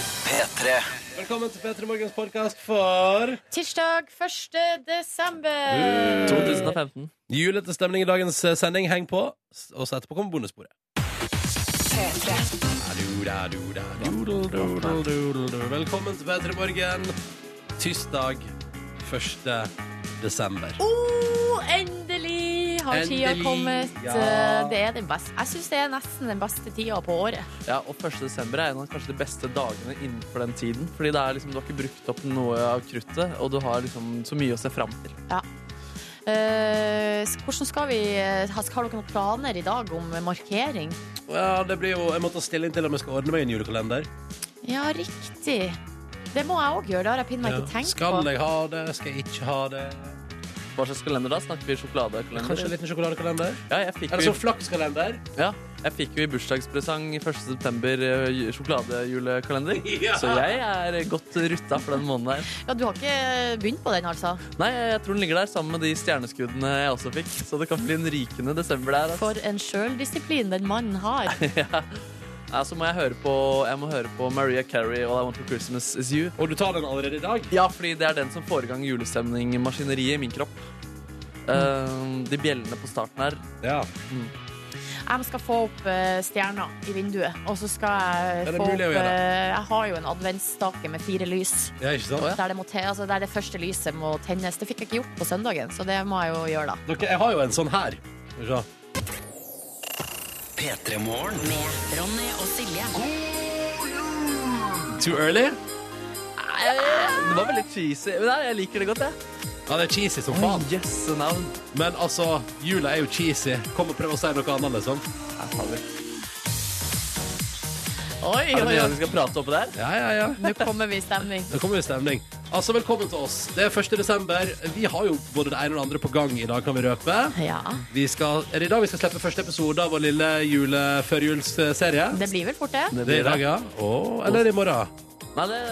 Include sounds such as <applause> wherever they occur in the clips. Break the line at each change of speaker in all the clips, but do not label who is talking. P3.
Velkommen til P3 Morgens podkast for
Tirsdag 1. desember.
2015.
julete stemning i dagens eh, sending. Heng på, s- og så etterpå kommer bonussporet. Da, do, da, do, da. Doodle, doodle, doodle, do. Velkommen til P3 Morgen. Tirsdag 1. desember.
Oh, endelig har tida
Endelig,
kommet. Eh,
ja.
Det er den beste. Jeg syns det er nesten den beste tida på året.
Ja, og 1. desember er en av kanskje de beste dagene innenfor den tiden. Fordi det er liksom, du har ikke brukt opp noe av kruttet, og du har liksom så mye å se fram til.
Eh, hvordan skal vi Har har dere noen planer i dag om markering?
Ja, det blir jo, Jeg måtte stille inn til om jeg skal ordne meg en julekalender.
Ja, riktig. Det må jeg òg gjøre. Det har jeg pinadø ikke
Ja.
tenkt
Skal
på.
jeg ha det? Skal jeg ikke ha det?
Hva slags kalender da? Snakker vi sjokoladekalender?
Kanskje en liten sjokoladekalender?
Ja, jeg fikk,
Eller
jo,
sånn flakskalender?
ja, jeg fikk jo i bursdagspresang i 1. september eh, ju- sjokoladejulekalender.
<laughs> Ja.
Så jeg er godt rutta for den måneden her.
Ja, du har ikke begynt på den, altså?
Nei, jeg tror den ligger der sammen med de stjerneskuddene jeg også fikk. Så det kan bli en rykende desember der. altså.
For en sjøldisiplin den mannen
<laughs>
har.
Ja, så må jeg høre på, jeg må høre på Maria Carey og I Want for Christmas Is You.
Og du tar den allerede i dag?
Ja, fordi det er den som får i gang julestemningmaskineriet i min kropp. Eh, de bjellene på starten her.
Ja.
Jeg skal få opp eh, stjerna i vinduet, og så skal
Er
jeg
det
få opp
mulig å gjøre?
eh, Jeg har jo en adventsstake med fire lys.
ja, ikke sant?
Der det, må te, altså der det første lyset må tennes. Det fikk jeg ikke gjort på søndagen, så det må jeg jo gjøre da.
Dere, jeg har jo en sånn her. Skal vi se.
P3 Morgen.
Ronny og Silje.
Too early?
Det var veldig cheesy. Men nei, jeg liker det godt, jeg.
Ja, det er cheesy som faen.
Jøsse navn.
Men altså, jula er jo cheesy. Kom og prøv å si noe annet, liksom.
Jeg sa det.
Oi,
Er det
oi,
mye
oi.
vi skal prate oppå der?
Ja, ja, ja.
Nå kommer vi i stemning.
Nå kommer vi i stemning. Altså, velkommen til oss. Det er 1. desember. Vi har jo både det ene og det andre på gang i dag, kan vi røpe.
Ja.
Vi skal, er det i dag vi skal slippe første episode av vår lille jule-førjulsserie?
Det blir vel fort det.
Det er i dag, ja. Å, eller i morgen.
Nei, det,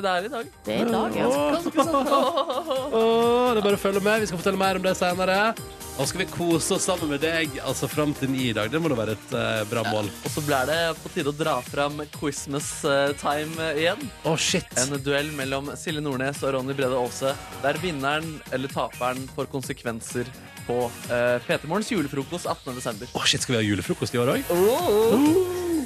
det er i dag.
Det er i dag, ja.
Å, det er bare å følge med. Vi skal fortelle mer om det senere. Og skal vi kose oss sammen med deg altså fram til ni i dag. Det må da være et eh, bra mål.
Og så blir det på tide å dra fram Christmas eh, time igjen.
Å, shit.
En duell mellom Silje Nordnes og Ronny Brede Aase, der vinneren eller taperen får konsekvenser på uh, PT-morgens julefrokost 18. desember.
Å, shit, skal vi ha julefrokost i år òg? Oh.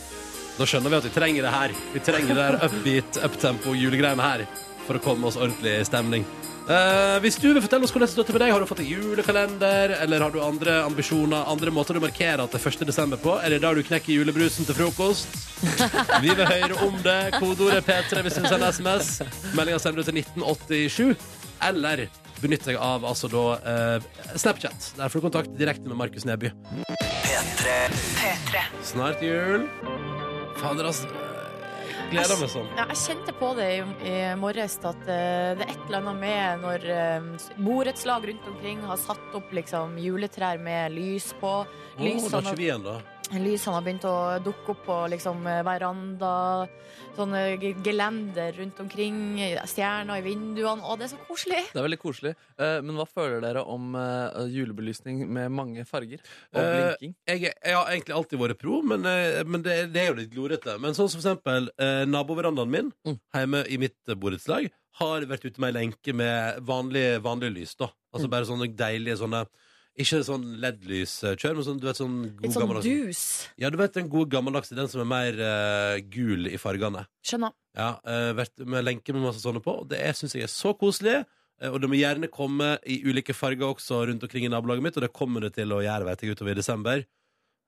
Da skjønner vi at vi trenger det her. Vi trenger det her upbeat, uptempo, julegreiene her for å komme oss ordentlig i stemning. Eh, hvis du vil fortelle oss hvordan det står til med deg, har du fått en julekalender, eller har du andre ambisjoner, andre måter du markerer at det er 1. desember på? Er det da du knekker julebrusen til frokost? Vi vil høre om det. Kodeordet er P3 hvis du sender SMS. Meldinga sender du til 1987. Eller benytt deg av altså da eh, Snapchat. Der får du kontakt direkte med Markus Neby.
P3.
Snart jul. Fader, altså. Jeg Gleder meg sånn.
Ja, jeg kjente på det i, i morges at eh, det er et eller annet med når eh, borettslag rundt omkring har satt opp liksom, juletrær med lys på.
Å, da
Lysene
har ikke vi en, da.
Lysene har begynt å dukke opp på liksom, veranda, sånne ge- gelender rundt omkring, stjerner i vinduene. Å, det er så koselig!
Det er veldig koselig. Eh, men hva føler dere om eh, julebelysning med mange farger og
Eh,
blinking?
Jeg, er- jeg har egentlig alltid vært pro, men, eh, men det, det er jo litt glorete. Men sånn som for eksempel eh, naboverandaen min
Mm.
hjemme i mitt eh, borettslag har vært ute med ei lenke med vanlig, vanlig lys, da. Altså bare sånne deilige sånne ikke sånn LED-lyskjør, men sånn, du vet, sånn god
Litt sånn
gammeldags
dus.
Ja, du vet den gode gammeldagse, den som er mer eh, gul i fargene.
Skjønner.
Ja, eh, vært med lenke med masse sånne på. Og det er- syns jeg er så koselig. Eh, Og det må gjerne komme i ulike farger også rundt omkring i nabolaget mitt, og det kommer det til å gjøre vet jeg, utover i desember.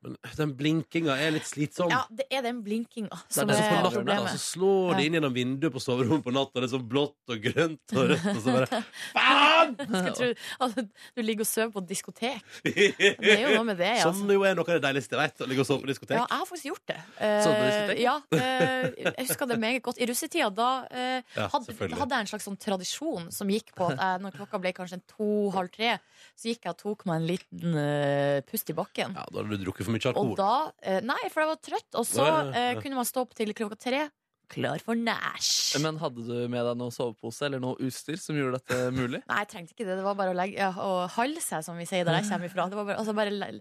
Men eh, den blinkinga er litt slitsom.
Ja, det er den blinkinga
er
som
det
Så
er,
som får
på
natten,
natta så
problemet.
slår det inn gjennom vinduet på soverommet på natta. Det er sånn blått og grønt og rødt, og så
<laughs>
bare Faen!
Jeg tror, altså, du ligger og sover på et diskotek. Det er jo noe med det.
Som
Altså.
jo er noe av det deiligste jeg vet, å ligge og sove på
Ja,
diskotek.
jeg har faktisk gjort det.
Sovet på
Eh,
diskotek?
ja, eh, jeg husker det meget godt. I russetida da eh,
Ja,
hadde,
selvfølgelig.
hadde jeg en slags sånn tradisjon som gikk på at jeg, når klokka ble kanskje en to-halv tre, så gikk jeg og tok meg en liten eh, pust i bakken.
Ja, da har du drukket for mye
Og
alkohol.
da eh, Nei, for jeg var trøtt, og så
Ja, ja, ja.
eh, kunne man stå opp til klokka tre. Klar for næsj.
Men hadde du med deg noe sovepose eller noe utstyr som gjorde dette
<laughs>
mulig?
Nei, jeg trengte ikke det. Det var bare å legge ja, Å halse, som vi sier der jeg kommer ifra. Det var bare, altså, bare le-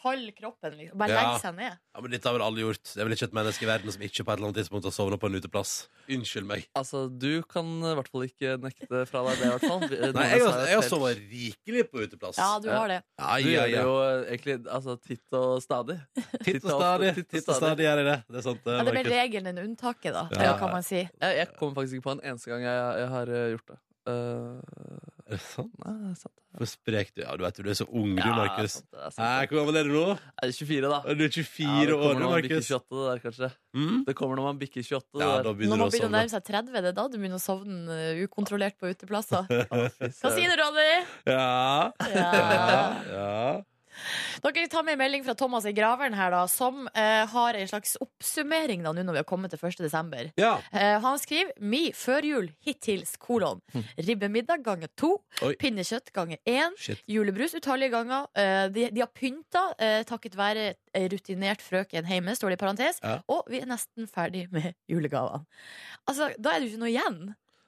halv kroppen. Liksom. Bare
Ja.
legge seg ned.
Ja, men Dette har vel alle gjort. Det er vel ikke et menneske i verden som ikke på et eller annet tidspunkt har sovna på en uteplass. Unnskyld meg.
Altså, du kan i hvert fall ikke nekte fra deg det, i hvert fall.
Nei, jeg, har- jeg har sovet rikelig på uteplass.
Ja, du har det.
Ai,
Du
ai,
gjør det
ai.
jo egentlig altså, titt og stadig.
Titt og stadig. Titt og stadig gjør jeg det. Det er sant. det,
Ja, det er mer
Markus.
regelen enn unntaket, da,
Ja.
kan man si.
Jeg, jeg kommer faktisk ikke på en eneste gang jeg, jeg har eh, gjort det. Eh,
Er det sant?
nei, det er sant.
For sprek du Ja, du vet jo, du er så ung du,
Ja,
Markus.
sant, det er sant.
Hæ, Hvor gammel er du nå?
Er det 24, da?
Er du
Ja,
24 år,
kommer
du,
når man bikker
Markus?
28, det der, kanskje.
Mm?
Det kommer når man bikker 28. det
Ja,
der.
da
Når
begynner du
man
å
begynner å
sovne.
nærme seg 30, det er da du begynner å sovne uh, ukontrollert
<laughs>
på uteplasser.
Fy
Hva sier
søren.
du, Ronny?
Ja.
Ja.
Ja. <laughs> ja.
<laughs> Dere tar med en melding fra Thomas i Graveren her, da, som eh, har en slags oppsummering da, nå når vi har kommet til 1. desember.
ja.
Eh, han skriver mi førjul hittils kolon. Ribbemiddag ganger to.
Hm. Oi.
Pinnekjøtt ganger én.
Shit.
Julebrus utallige ganger. Eh, de, de har pynta eh, takket være ei rutinert frøken hjemme, står det i parentes.
Ja.
Og vi er nesten ferdig med julegavene. Altså, da er det jo ikke noe igjen,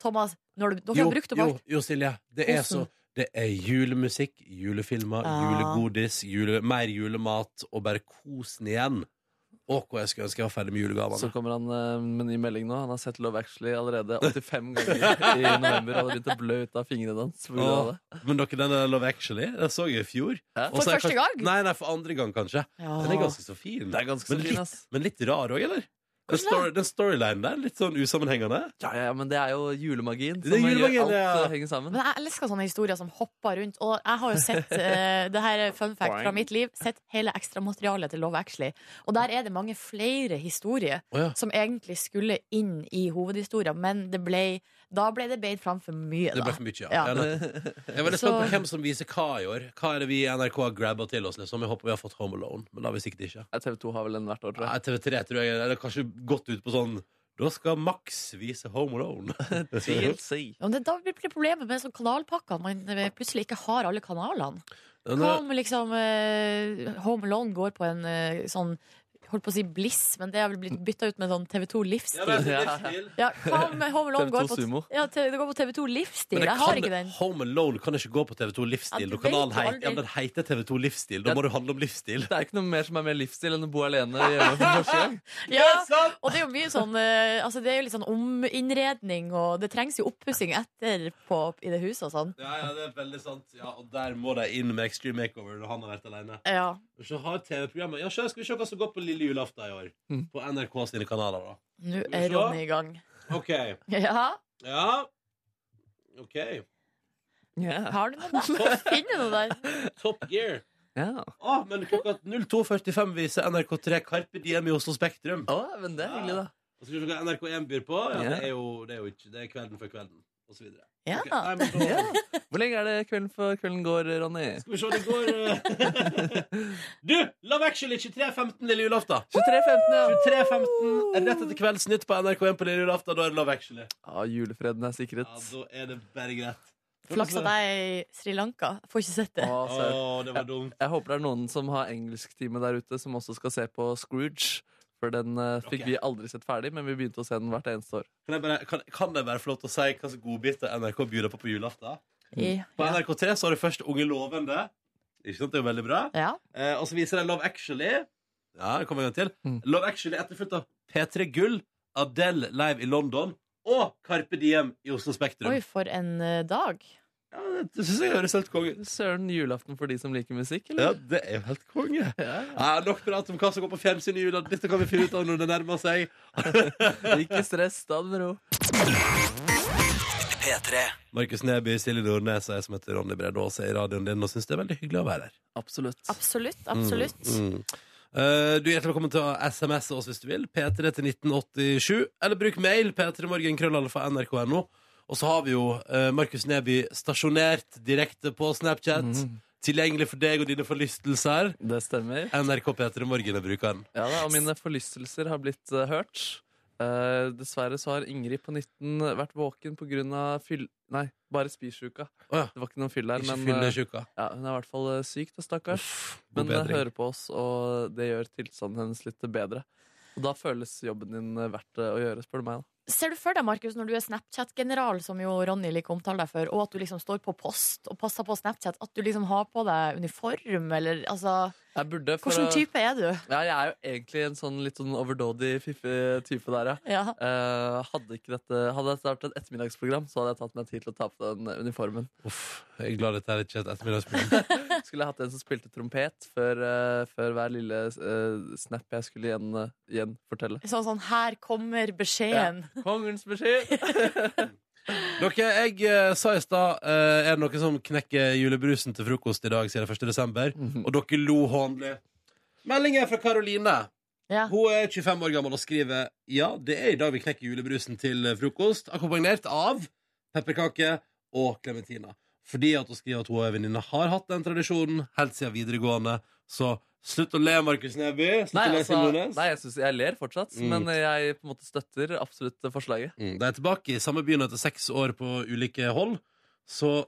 Thomas. Når du, dere
Jo,
har brukt opp
jo,
alt.
jo, Silje. Det er så
Hvordan?
det er julemusikk, julefilmer,
Ja.
julegodis, jule, mer julemat og bare kosen igjen. Å, hvor jeg skulle ønske jeg var ferdig med
Så
julegavene.
kommer han eh, med ny melding nå. Han har sett Love Actually allerede 85 <laughs> ganger i november. Han har begynt å blø ut av fingrene hans. på grunn av
Å, men dere, den der Love Actually, den så jeg i fjor.
Hæ?
Og så er
For
jeg
første
kanskje-
gang? Ah.
Nei, nei, for andre gang, kanskje. Den er ganske så fin.
Det er ganske så
men,
fin,
litt,
ass.
men litt rar òg, eller? Den,
Hvordan
story, den storylinen der, litt sånn usammenhengende.
Ja, ja, ja, men det er jo julemagien
Det er
som gjør
julemagien,
alt
ja.
eh, henger sammen.
Men jeg elsker sånne historier som hopper rundt. Og jeg har jo
<laughs>
sett eh, det her er fun fact fra mitt liv Sett hele ekstramaterialet til Love Actually. Og der er det mange flere historier
Å, ja.
som egentlig skulle inn i hovedhistorien, men det ble, da ble det beint fram for mye.
Det ble
Da.
for mye, ja.
Ja.
ja. nettopp. jeg er veldig spent på
Så-
hvem som viser hva i år. Hva er det vi i NRK har grabba til oss? Liksom? Jeg håper vi har fått Home Alone, men det har vi sikkert ikke.
TV 2 har vel en hvert år, tror
Nei,
jeg.
TV3 tror jeg Eller kanskje gått ut på sånn Da skal Max vise Home
<laughs>
Alone <laughs>
TLC.
Og det, da blir problemet med sånn kanalpakker. Man eh, plutselig ikke har alle kanalene.
Ja,
Hva
nå-
om liksom eh, Home Alone går på en eh, sånn Holdt på å si Bliss, men det er vel blitt bytta ut med sånn TV2
Ja,
Livsstil.
det er
Ja.
livsstil.
Ja, hva om
<laughs>
Home Alone går
TV2
på,
Sumo.
ja, te- det går på TV2 Livsstil?
Men det
Jeg har
kan-
ikke den.
Home Alone kan ikke gå på TV2 Livsstil
Ja, du
når kanalen
vet jo
heit-
aldri.
ja, Den heter TV2 Livsstil Da
Ja.
må det handle om livsstil
Det er ikke noe mer som er mer livsstil enn å bo alene hjemme for første gang.
Ja, og det er jo mye sånn eh, altså Det er jo litt sånn ominnredning, og det trengs jo oppussing etterpå i det huset og sånn.
Ja, ja, det er veldig sant Ja, og der må de inn med Extreme Makeover Når han har vært alene
Ja.
Og så har TV-programmet Ja, så skal vi se hva som går på lille julaften i år
Mm.
På NRK sine kanaler da
Nå
Skal vi
er
se?
Ronny i gang.
Ok,
Ja,
ja Ok,
Ja.
har du noe
<laughs>
der? Finner du noe der?
Top Gear
Ja.
Åh, men klokka 02.45 viser NRK3 Carpe Diem i Oslo Spektrum
Å, men det er hyggelig, da.
Og så skal vi se hva NRK1 byr på. Ja,
Ja.
det, er jo, det er jo ikke Det er kvelden før kvelden, og så videre.
Ja.
Ok, nei, men da-
Hvor lenge er det kvelden før kvelden går, Ronny?
Skal vi se, det går eh, Du! Love Actually 23.15 lille julaften.
23.15, ja.
23.15 rett etter Kveldsnytt på NRK1 på lille julaften. Da er det Love Actually.
Ja, julefreden er sikret.
Ja, da er det bare greit.
Flaks at jeg er i Sri Lanka. Får ikke sett det.
Å,
Å,
søren.
det var dumt.
Jeg håper det er noen som har engelsktime der ute, som også skal se på Scrooge. For den eh, fikk
Ok.
vi aldri sett ferdig, men vi begynte å se den hvert eneste år.
Kan, jeg bare, kan, kan det være flott å si hva slags godbiter NRK byr deg på på julaften?
I,
På NRK3 så har du først Unge lovende. Ikke sant? Det er jo veldig bra.
ja.
Eh, og så viser de Love Actually. Ja, det kommer jeg en gang til.
Mm.
Love Actually etterfulgt av P3 Gull, Adele live i London og Carpe Diem i Oslo Spektrum.
Oi, for en eh, dag.
Ja, det syns jeg høres helt konge ut.
Søren julaften for de som liker musikk,
Ja,
eller?
det er jo helt konge.
<laughs> Ja.
Ja, nok prat om hva som går på fjernsyn i jula. Dette kan vi finne ut av når det nærmer seg.
Ikke stress, ta det med ro.
P3.
Markus Neby, Silje Nordnes og jeg som heter Ronny Brede Aase i radioen din og syns det er veldig hyggelig å være her.
Absolutt.
Absolutt. Absolutt.
Mm, mm. Eh, du er hjertelig velkommen til å SMS oss hvis du vil. P3 til 1987. Eller bruk mail. p3morgenkrøllalfa.nrk.no. Og så har vi jo eh, Markus Neby stasjonert direkte på Snapchat. Tilgjengelig for deg og dine forlystelser.
Det stemmer.
NRK P3 Morgen er brukeren.
Ja da, og mine forlystelser har blitt eh, hørt. Eh, dessverre så har Ingrid på 19 vært våken på grunn av fyll... Nei, bare spisjuka.
Å ja.
Det var ikke noen fyll der,
Ikke
men
fyll
eh,
deg tjukka.
ja, hun er i hvert fall eh, syk, da, stakkars.
God
Men eh,
bedring.
hører på oss, og det gjør tilstanden hennes litt bedre. Og da føles jobben din eh, verdt eh, å gjøre, spør du meg. da.
Ser du for deg, Markus, når du er Snapchat-general, som jo Ronny liker å omtale deg for, og at du liksom står på post og passer på Snapchat, at du liksom har på deg uniform, eller altså
Jeg burde for
Hvilken
å-
type er du?
Ja, jeg er jo egentlig en sånn litt sånn overdådig fiffig type der, ja.
Ja.
Eh, hadde, ikke dette, hadde dette vært et ettermiddagsprogram, så hadde jeg tatt meg tid til å ta på den
<laughs>
uniformen.
Uff, jeg er glad dette er ikke et
<laughs>
ettermiddagsprogram.
Skulle jeg hatt en som spilte trompet før, eh, før hver lille eh, snap jeg skulle igjen, eh, igjen fortelle.
Sånn sånn, her kommer beskjeden.
Kongens beskjed! <laughs>
Dere, jeg eh, sa i stad eh, Er det noen som knekker julebrusen til frokost i dag siden 1. desember? Og dere lo hånlig. Meldingen fra Karoline.
Ja.
Hun er 25 år gammel og skriver Ja, det er i dag vi knekker julebrusen til eh, frokost Akkompagnert av pepperkake og klementina Fordi at hun skriver at hun og en venninne har hatt den tradisjonen Helt siden videregående Så slutt å le, Markus Neby Slutt å
Nei,
le,
altså,
Silje Nordnes.
nei jeg, synes, jeg ler fortsatt,
Mm.
men jeg på en måte støtter absolutt forslaget.
mm, De er tilbake i samme byen etter seks år på ulike hold Så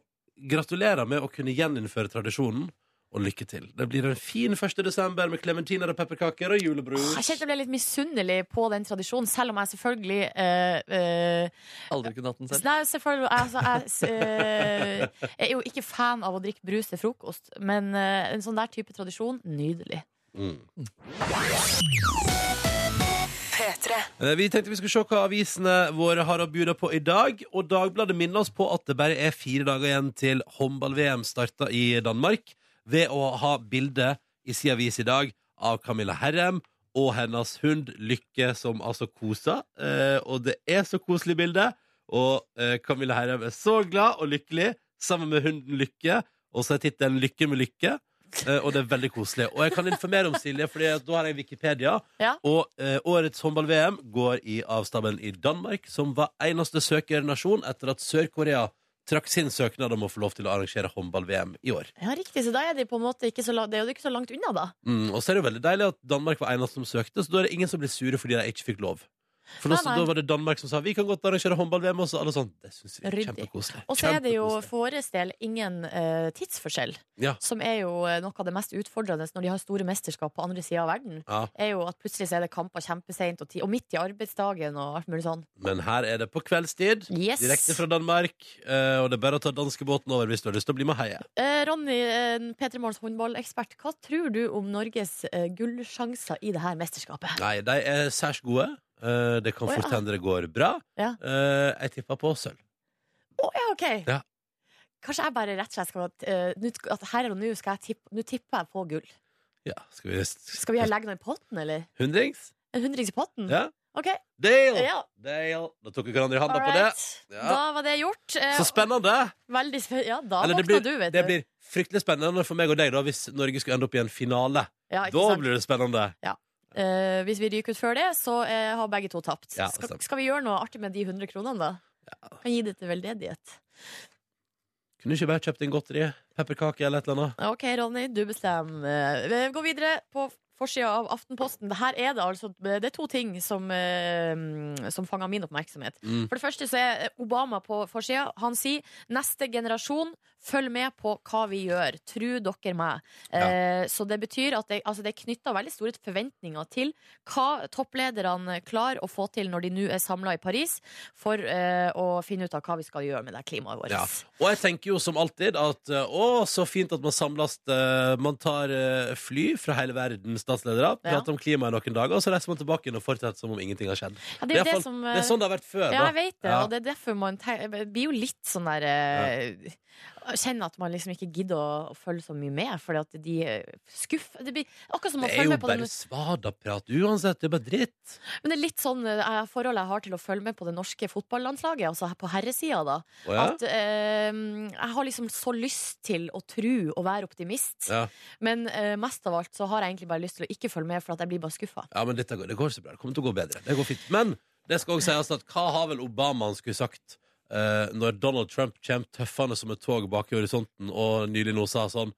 gratulerer med å kunne gjeninnføre tradisjonen og lykke til Det blir en fin 1. desember med klementiner og pepperkaker og julebrus
Jeg kjente jeg ble litt misunnelig på den tradisjonen, selv om jeg selvfølgelig eh, eh,
Aldri kunne hatt den selv.
Nei, selvfølgelig altså, jeg, s- eh, jeg er jo ikke fan av å drikke brus til frokost, men eh, en sånn der type tradisjon, nydelig.
Mm. Eh, Vi tenkte vi skulle se hva avisene våre har å bjuda på i dag. Og Dagbladet minner oss på at det bare er fire dager igjen til håndball-VM starter i Danmark, ved å ha bilde i sin avis i dag av Camilla Herrem og hennes hund Lykke, som altså koser. Eh, Og det er så koselig bilde. Og eh, Camilla Herrem er så glad og lykkelig sammen med hunden Lykke. Og så er tittelen 'Lykke med lykke'. Eh, Og det er veldig koselig. Og jeg kan informere om Silje, for da har jeg Wikipedia.
Ja.
Og eh, årets håndball-VM går i avstammen i Danmark, som var eneste søkernasjon etter at Sør-Korea trakk sin søknad om å få lov til å arrangere håndball-VM i år.
Ja, riktig, så da er de på en måte ikke så, la- det er jo ikke så langt unna, da.
Mm, og så er det jo veldig deilig at Danmark var eneste som søkte, så da er det ingen som blir sure fordi de ikke fikk lov. For
Nei,
også,
nei.
da var det Danmark som sa vi kan godt arrangere håndball-VM, og så alle sånn. Det syns vi er
Ryddig.
kjempekoselig.
Og så er det jo
Kjempekoselig.
for vår del ingen eh, tidsforskjell,
Ja.
som er jo eh, noe av det mest utfordrende når de har store mesterskap på andre sida av verden.
ja,
Er jo at plutselig så er det kamper kjempeseint, og, ti- og midt i arbeidsdagen og alt mulig sånn.
Men her er det på kveldstid.
Yes.
Direkte fra Danmark. eh, og det er bare å ta danskebåten over hvis du har lyst til å bli med og heie.
Eh, Ronny, eh, P3 Morgens håndballekspert, hva tror du om Norges eh, gullsjanser i det her mesterskapet?
Nei, de er særs gode. Eh, det kan
Å, ja.
fort hende det går bra.
Ja.
Eh, jeg tipper på sølv.
Å ja, OK!
Ja.
Kanskje jeg bare rett og slett skal eh, nå- at her og nå skal jeg tippe Nå tipper jeg på gull.
Ja, skal vi
Skal vi legge noe i potten, eller?
Hundrings?
En hundrings i potten?
Ja.
OK.
Dale!
Ja,
Dale! Da tok vi hverandre i handa på det.
alright.
Ja.
Da var det gjort. Eh,
Så spennende!
Veldig spen- Ja, da
Eller det
våkna
blir,
du, vet
det
du.
blir fryktelig spennende for meg og deg da hvis Norge skulle ende opp i en finale.
ja,
Da
ikke sant?
blir det spennende.
Eh, hvis vi ryker ut før det, så eh, har begge to tapt.
Ja,
skal,
stemmer.
skal vi gjøre noe artig med de 100 kronene, da? Kan gi det til veldedighet.
Kunne ikke bare kjøpt inn godteri, pepperkake eller et eller annet.
Ok, Ronny, du bestemmer. Vi går videre på forsida av Aftenposten. Det Her er det altså Det er to ting som, eh, som fanger min oppmerksomhet.
Mm.
For det første så er Obama på forsida. Han sier 'neste generasjon, følg med på hva vi gjør'. Tru dere meg. Eh, så det betyr at det, altså det er knytta veldig store forventninger til hva topplederne klarer å få til når de nå er samla i Paris, for eh, å finne ut av hva vi skal gjøre med det klimaet vårt.
Ja. Og jeg tenker jo som alltid at eh, å, så fint at man samles eh, Man tar eh, fly fra hele verden, statsledere,
Ja.
prater om klima i noen dager, og så reiser man tilbake igjen og fortsetter som om ingenting har skjedd.
Ja, det
i
er jo
hvert
det
fall-
som eh,
det er sånn det har vært før.
Ja,
da.
jeg vet det,
Ja.
og det er derfor man te- jeg blir jo litt sånn der eh, Kjenner at man liksom ikke gidder å, å følge så mye med, fordi at de eh, skuff... Det blir akkurat som å
Det er
følge
jo
med på den
bare svadaprat uansett. Det er bare dritt.
Men det er litt sånn eh, forhold jeg har til å følge med på det norske fotballandslaget, altså her på herresida, da.
Å, ja?
At eh, jeg har liksom så lyst til å tro og være optimist,
Ja.
men eh, mest av alt så har jeg egentlig bare lyst til å ikke følge med, for at jeg blir bare skuffa.
ja, men dette går, det går så bra. Det kommer til å gå bedre. Det går fint. Men det skal også sies at hva har vel Obama han skulle sagt eh, når Donald Trump kommer tøffende som et tog bak i horisonten og nylig nå sa sånn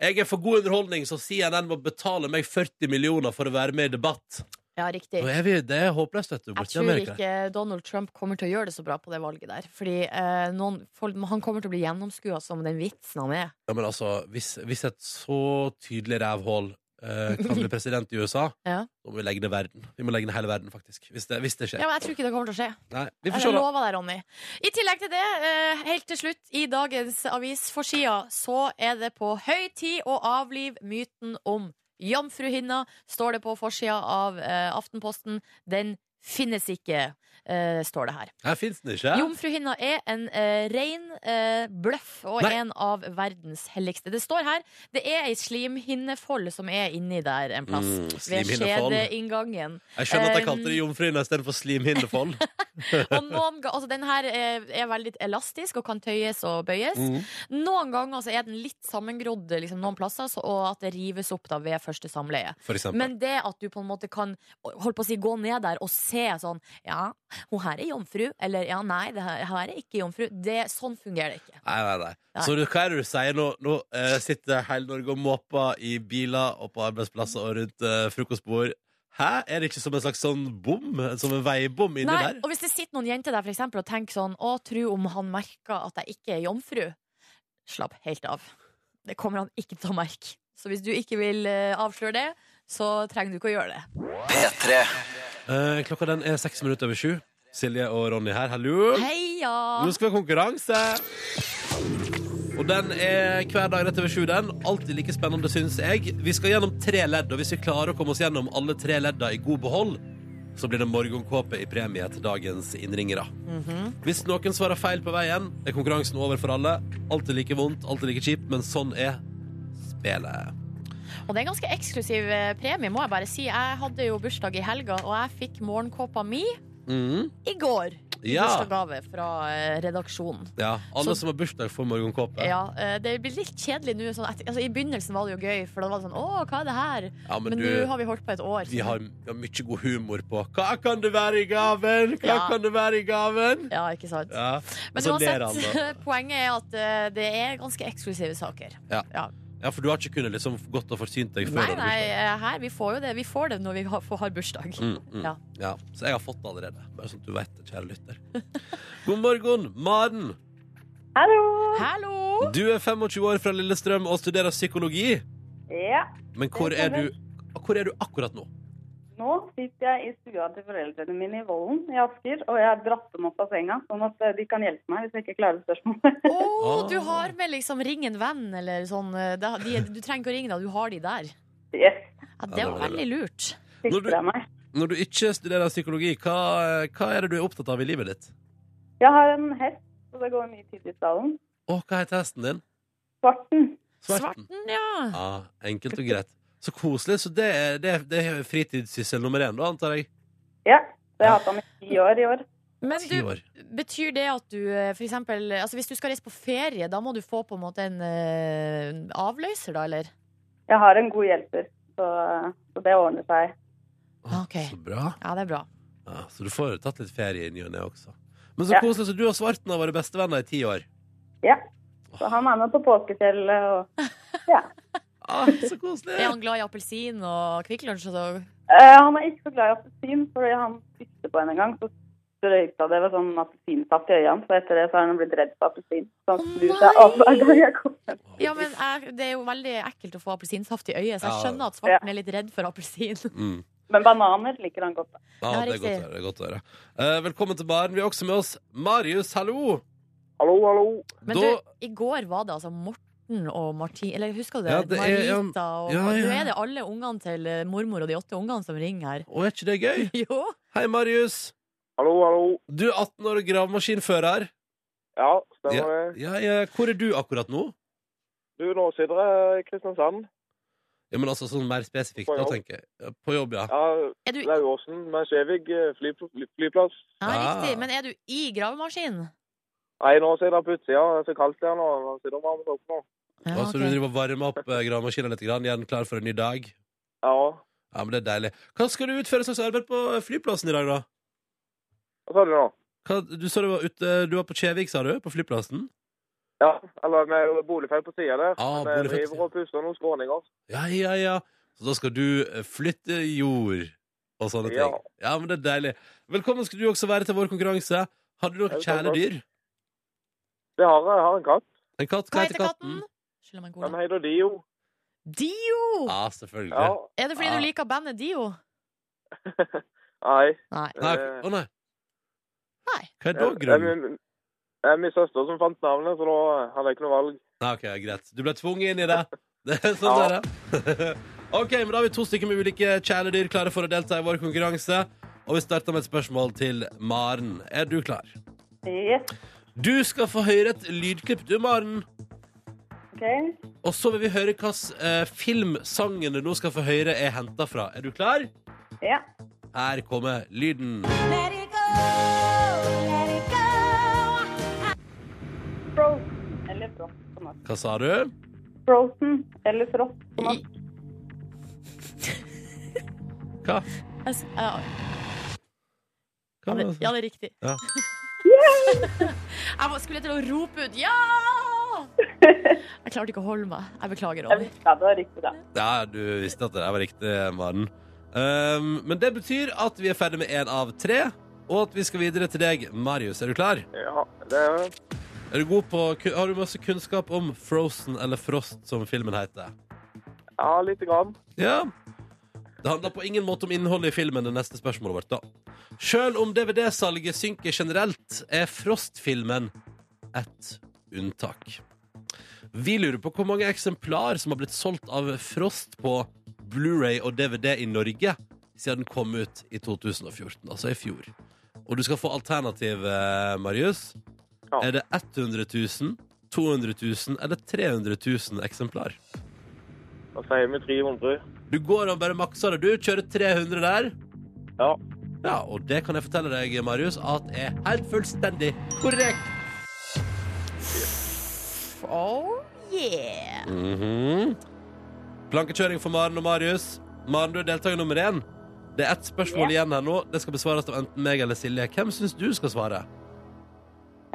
jeg er for god underholdning, så CNN må betale meg 40 millioner for å være med i debatt.
Ja, riktig.
Nå er vi, det er håpløst, vet du.
Eh. Jeg
Borti
tror
Amerika.
ikke Donald Trump kommer til å gjøre det så bra på det valget der. Fordi eh, noen, folk, han kommer til å bli gjennomskua som den vitsen han er.
Ja, men altså, hvis, hvis et så tydelig rævhål eh, kan
<laughs>
bli president i USA,
Ja.
da må vi legge ned verden. Vi må legge ned hele verden, faktisk. Hvis det, hvis det skjer.
Ja, men jeg tror ikke det kommer til å skje.
Nei, vi får
Jeg
se, da.
lover deg, Ronny. I tillegg til det, eh, helt til slutt, i dagens avisforsida så er det på høy tid å avlive myten om jomfruhinna, står det på forsida av eh, Aftenposten. Den finnes ikke, eh, står det her.
Her fins den ikke.
Jomfruhinna er en eh, ren eh, bløff og
Nei.
en av verdens helligste. Det står her det er ei slimhinnefold som er inni der en plass.
Mm,
altså, ved
slimhinnefold.
skjedeinngangen.
Jeg skjønner at jeg
Eh,
kalte det jomfruhinne istedenfor
<laughs>
slimhinnefold.
Og noen, ga- altså, den her er, er veldig elastisk og kan tøyes og bøyes.
Mm.
Noen ganger så er den litt sammengrodd liksom, noen plasser, så, og at det rives opp da, ved første samleie.
For eksempel.
Men det at du på en måte kan holdt på å si, gå ned der og se sånn Ja, hun her er jomfru. Eller ja, nei, det her, her er ikke jomfru. Det, sånn fungerer det ikke.
Nei, nei, nei.
Nei.
Så du, hva er det du sier nå? Nå eh, sitter hele Norge og måper i biler og på arbeidsplasser og rundt eh, frokostbord. Hæ? Er det ikke som en slags sånn bom? Som en veibom inni
Nei,
der?
og hvis det sitter noen jenter der for eksempel, og tenker sånn Å, tru om han merker at jeg ikke er jomfru. Slapp helt av. Det kommer han ikke til å merke. Så hvis du ikke vil eh, avsløre det, så trenger du ikke å gjøre det.
P3
Eh, klokka den er seks minutter over sju. Silje og Ronny her, hallo.
Heia!
Nå skal vi ha konkurranse. Og den er hver dag rett over sju. den Alltid like spennende, syns jeg. Vi skal gjennom tre ledd, og hvis vi klarer å komme oss gjennom alle tre ledda i god behold, så blir det morgenkåpe i premie til dagens innringere.
Mhm.
Hvis noen svarer feil på veien, er konkurransen over for alle. Alltid like vondt, alltid like kjipt, men sånn er spelet.
Og det er en ganske eksklusiv eh, premie, må jeg bare si. Jeg hadde jo bursdag i helga, og jeg fikk morgenkåpa mi
Mhm.
i går. I
Ja.
Bursdagsgave fra eh, redaksjonen.
ja. Alle
Så-
som har bursdag, får morgenkåpe.
Ja, eh, det blir litt kjedelig nå. Sånn etter, altså, I begynnelsen var det jo gøy, for da var det sånn Å, hva er det her?
Ja,
Men nå har vi holdt på et år.
Vi
så-
har, vi har mye god humor på Hva kan det være i gaven? Hva
Ja.
kan det være i gaven?
Ja, ikke sant?
Ja.
Men
så ler han da.
uansett, <laughs> poenget er at eh, det er ganske eksklusive saker.
Ja. ja, for du har ikke kunnet liksom gått og forsynt deg før?
Nei,
du hadde
nei,
bursdag.
eh, her, vi får jo det. Vi får det når vi har, får- har bursdag.
Mm, mm. Ja.
Ja.
Så jeg har fått det allerede. Bare sånn at du vet det, kjære lytter. <laughs> God morgen, Maren.
Hallo!
Hallo!
Du er 25 år fra Lillestrøm og studerer psykologi.
Ja,
Men hvor
Det
er
stemmer.
du, hvor er du akkurat nå?
nå sitter jeg i stua til foreldrene mine i Vollen i Asker, og jeg har dratt dem opp av senga, sånn at eh, de kan hjelpe meg hvis jeg ikke klarer spørsmålet. <laughs>
Å,
Ah.
du har med liksom 'ring en venn' eller sånn. eh, da- De, du trenger ikke å ringe, da. Du har de der.
Yes,
Ja, det var veldig lurt.
Når du-
sikter jeg meg.
Når du ikke studerer psykologi, hva, hva er det du er opptatt av i livet ditt?
Jeg har en hest, og det går mye tid i stallen.
Å, hva heter hesten din?
Svarten.
Svarten.
Svarten, ja.
Ja, enkelt og greit. Så koselig. Så det er, det er, det er fritidssyssel nummer én, da, antar jeg.
Ja, så jeg har hatt ham i ti år i år.
Men
Ti
du,
år.
betyr det at du eh, for eksempel altså Hvis du skal reise på ferie, da må du få på en måte en eh, avløser, da, eller?
Jeg har en god hjelper, så, så det ordner seg.
Å,
Ok.
Så bra.
Ja, det er bra.
Ja, så du får tatt litt ferie i ny og ne også. Men så
Ja.
koselig. Så du og Svarten har vært bestevenner i ti år.
Ja, så han er med på påskefjellet og... Ja.
Ah, så koselig.
Er han glad i appelsin og Kvikk Lunsj altså? og så?
Eh, han er ikke så glad i appelsin, fordi han spiste på henne en gang. Så sprøyta det ved sånn appelsinsaft i øynene, så etter det så har han blitt redd for appelsin. Så han
Å,
snur seg av hver gang jeg kommer.
Ja, men jeg, Det er jo veldig ekkelt å få appelsinsaft i øyet, så jeg
Ja.
skjønner at Svarten er litt redd for appelsin. <laughs>
Mm.
Men bananer liker han godt. da.
Ja,
Ja,
det er
riktig.
godt å høre. det er godt å høre. Eh, velkommen til baren. Vi har også med oss Marius. Hallo!
Hallo, hallo.
Men
Da-
du, i går var det altså Morten og Martin Eller husker du det?
Ja, det er, ja,
Marita og
ja, ja.
Nå er det alle ungene til eh, mormor og de åtte ungene som ringer her. <laughs>
Å, er ikke det gøy?
Jo!
Hei, Marius.
Hallo, hallo.
Du er 18 år og gravemaskinfører.
Ja, stemmer det.
Ja, ja, hvor er du akkurat nå?
Du, nå sitter jeg i Kristiansand.
Ja, men altså sånn mer spesifikt,
På
da,
jobb.
tenker jeg. Ja, På jobb, ja.
Ja,
Er du, ja,
Lauvåsen med Skjevik eh, fly, fly, flyplass.
riktig.
Ah.
Men er du i gravemaskinen?
Nei, nå sitter jeg på utsida. Det er så kaldt her nå. Nå sitter varmt oppe nå.
Ja,
Altså,
ok.
du driver og varmer opp eh, gravemaskinen litt, grann, igjen klar for en ny dag.
Ja.
Ja, men det er deilig. Hva skal du utføre slags arbeid på eh, flyplassen i dag, da?
Hva sa du nå?
Hva, du sa du var ute Du var på Kjevik, sa du? På flyplassen?
Ja, eller det er jo boligfelt på sida der.
Ja,
Men jeg
Ah, boligfelt på siden.
driver og puster noen skråninger.
Ja, ja, ja. Så da skal du eh, flytte jord og sånne ting.
Ja.
Ja. men det er deilig. Velkommen skal du også være til vår konkurranse. Har du noen
Tusen takk.
kjæledyr?
Det har jeg. Jeg har en katt.
En katt?
Hva heter katten? Skylder meg en
Den
cola.
heter Dio.
Dio!
Ja, selvfølgelig.
Ja.
Er det fordi
Ja.
du liker bandet Dio?
Nei.
Nei.
Nei,
eh,
ok. å nei.
Nei.
Hva er da
Det er
grunnen?
min, det er min søster som fant navnet, så da hadde jeg ikke noe valg.
Nei, Ah, ok, greit. Du ble tvunget inn i det. Det er sånn
Ja.
det <laughs> er. ok, men da har vi to stykker med ulike kjæledyr klare for å delta i vår konkurranse. Og vi starter med et spørsmål til Maren. Er du klar?
Yes,
Du skal få høre et lydklipp, du, Maren.
ok.
Og så vil vi høre hvilken eh, film sangen du nå skal få høre, er henta fra. Er du klar?
Ja.
Her kommer lyden.
Frozen eller Frost på norsk.
Hva sa du?
Frozen eller Frost på norsk.
Hva?
Jeg s- Ja,
Hva var
det,
det?
ja, det er riktig.
Ja.
<laughs> Jeg var- skulle til å rope ut 'ja'! Jeg klarte ikke å holde meg. Jeg beklager,
Jeg
Ronny.
visste at det var riktig, da.
Ja, du visste at det der var riktig, Maren. Ehm, men det betyr at vi er ferdig med én av tre, og at vi skal videre til deg, Marius. Er du klar?
Ja, det er
Er du god på, ku- har du masse kunnskap om Frozen eller Frost, som filmen heter?
Ja, lite grann.
Ja. Det handler på ingen måte om innholdet i filmen, det neste spørsmålet vårt, da. Sjøl om DVD-salget synker generelt, er Frost-filmen et unntak. Vi lurer på hvor mange eksemplar som har blitt solgt av Frost på Blu-ray og DVD i Norge siden den kom ut i 2014, altså i fjor. Og du skal få alternativ, eh, Marius.
Ja.
Er det 100 000, 200 000 eller 300 000 eksemplar?
Da sier vi 300.
Du går og bare makser det, du. Kjører 300 der.
Ja.
Ja, og det kan jeg fortelle deg, Marius, at er helt fullstendig korrekt.
Oh yeah!
Plankekjøring for Maren og Marius. Maren, du er deltaker nummer én. Det er ett spørsmål igjen her nå. Det skal besvares av enten meg eller Silje. Hvem syns du skal svare?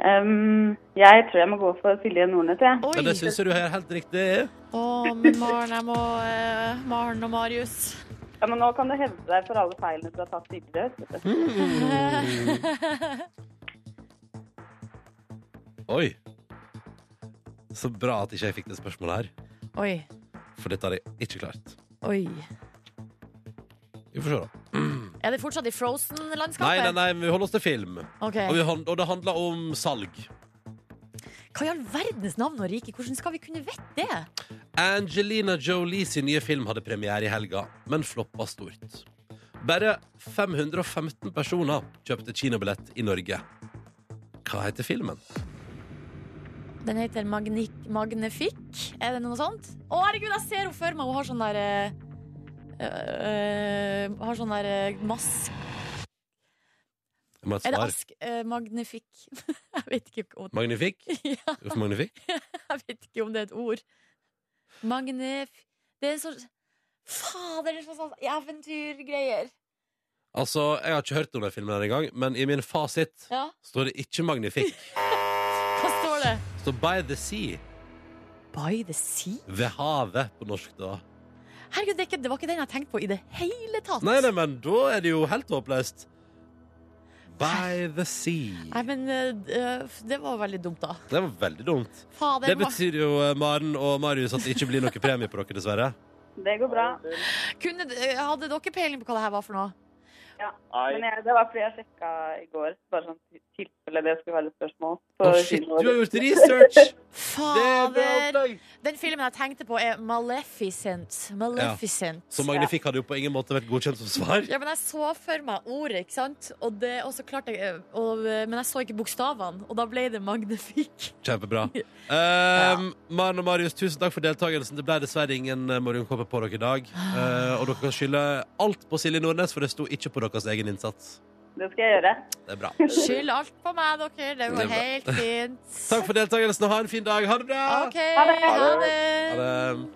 Ehm, jeg tror jeg må gå for Silje Nordnes, jeg.
Ja, det
Oi!
syns jeg du er helt riktig.
Å, men Maren, jeg må eh, Maren og Marius.
Ja, men nå kan du hevde deg for alle feilene du har tatt tidligere. vet du.
Oi. Så bra at ikke jeg fikk det spørsmålet her,
Oi.
for dette hadde jeg ikke klart.
Oi.
Vi får se, da.
Er det fortsatt i
Nei, nei,
Frozen-landskapet?
nei, vi holder oss til film. Og, vi,
Ok.
hand- og det handler om salg.
Hva i all verdens navn og rike? Hvordan skal vi kunne vite det?
Angelina Jolie sin nye film hadde premiere i helga, men floppa stort. Bare 515 personer kjøpte kinobillett i Norge. Hva heter filmen?
Den heter Magnik Magnific. Er det noe sånt? Å, herregud, jeg ser henne for meg! Hun har sånn der eh, eh, Har sånn der eh, mask
Jeg må ha et
Er det
svar.
ask? eh, magnific. <laughs> jeg vet ikke om
Magnifikk?
ja,
Uff, magnifikk.
<laughs> Jeg vet ikke om det er et ord. Magnif... Det er en sånn Fader, det er sånn eventyrgreier.
Altså, jeg har ikke hørt om den filmen her engang, men i min fasit
Ja,
står det ikke Magnifikk.
hva står det?
Det står By the Sea.
By the sea?
Ved havet, på norsk, da.
Herregud, det, er ikke, det var ikke den jeg tenkte på i det hele tatt.
Nei, nei, men da er det jo helt håpløst. By the
Nei,
Sea.
men eh, eh, det var veldig dumt, da.
Det var veldig dumt.
Fader,
Det
hva-
betyr jo, eh, Maren og Marius, at det ikke blir noe premie på dere, dessverre.
Det går bra.
kunne, eh, hadde dere peiling på hva det her var for noe?
Men
Nei.
jeg, det var fordi jeg sjekka i går, bare sånn i tilfelle det skulle være et spørsmål. Så
Å, shit,
siden det
du har
var-
gjort research! Det er bra
Fader!
opplegg!
Den filmen jeg tenkte på, er Maleficent. Maleficent.
Så Magnifikk hadde jo på ingen måte vært godkjent som svar.
Ja, men jeg så for meg ordet, ikke sant? Og, det, og så klarte jeg og, Men jeg så ikke bokstavene, og da ble det magnifikk.
Kjempebra. Um, Maren og Marius, tusen takk for deltakelsen. Det ble dessverre ingen eh, morgenkåpe på dere i dag. Eh, og dere kan skylde alt på Silje Nordnes, for det sto ikke på deres egen innsats.
Det skal jeg gjøre.
Det er bra.
Skyld alt på meg, dere. Det
Det er
går
bra.
helt fint.
Takk for deltakelsen, og ha en fin dag. Ha det bra!
OK, ha
Ha
det.
det.
Ha det.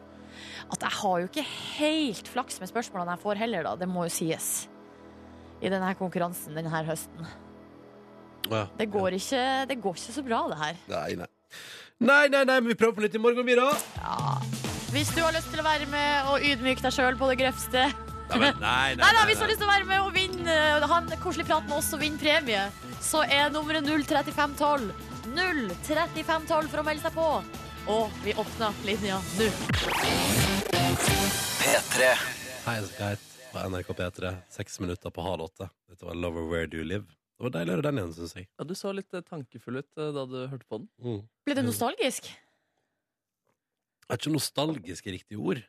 At jeg har jo ikke helt flaks med spørsmålene jeg får heller, da. Det må jo sies. I denne konkurransen denne høsten.
Ja.
Det går, ikke, det går ikke så bra, det her.
Nei, nei. Nei, nei, nei, men vi prøver på nytt i morgen, vi,
<laughs>
da.
Hvis du har lyst til å være med og ydmyke deg sjøl på det grøvste
Nei, men, nei, nei,
Nei, nei, hvis du har lyst til å være med og vinne eh, ha en koselig prat med oss og vinne premie, så er nummeret 03512. 03512 for å melde seg på. Og vi åpner linja nå.
P3.
Heis Kite på NRK P3. Seks minutter på halv åtte. Dette var Lover Where Do You Live. Det var deilig å høre den igjen, syns jeg.
Ja, du så litt eh, tankefull ut eh, da du hørte på den.
Mm.
Ble det nostalgisk?
Det er ikke nostalgisk riktig ord.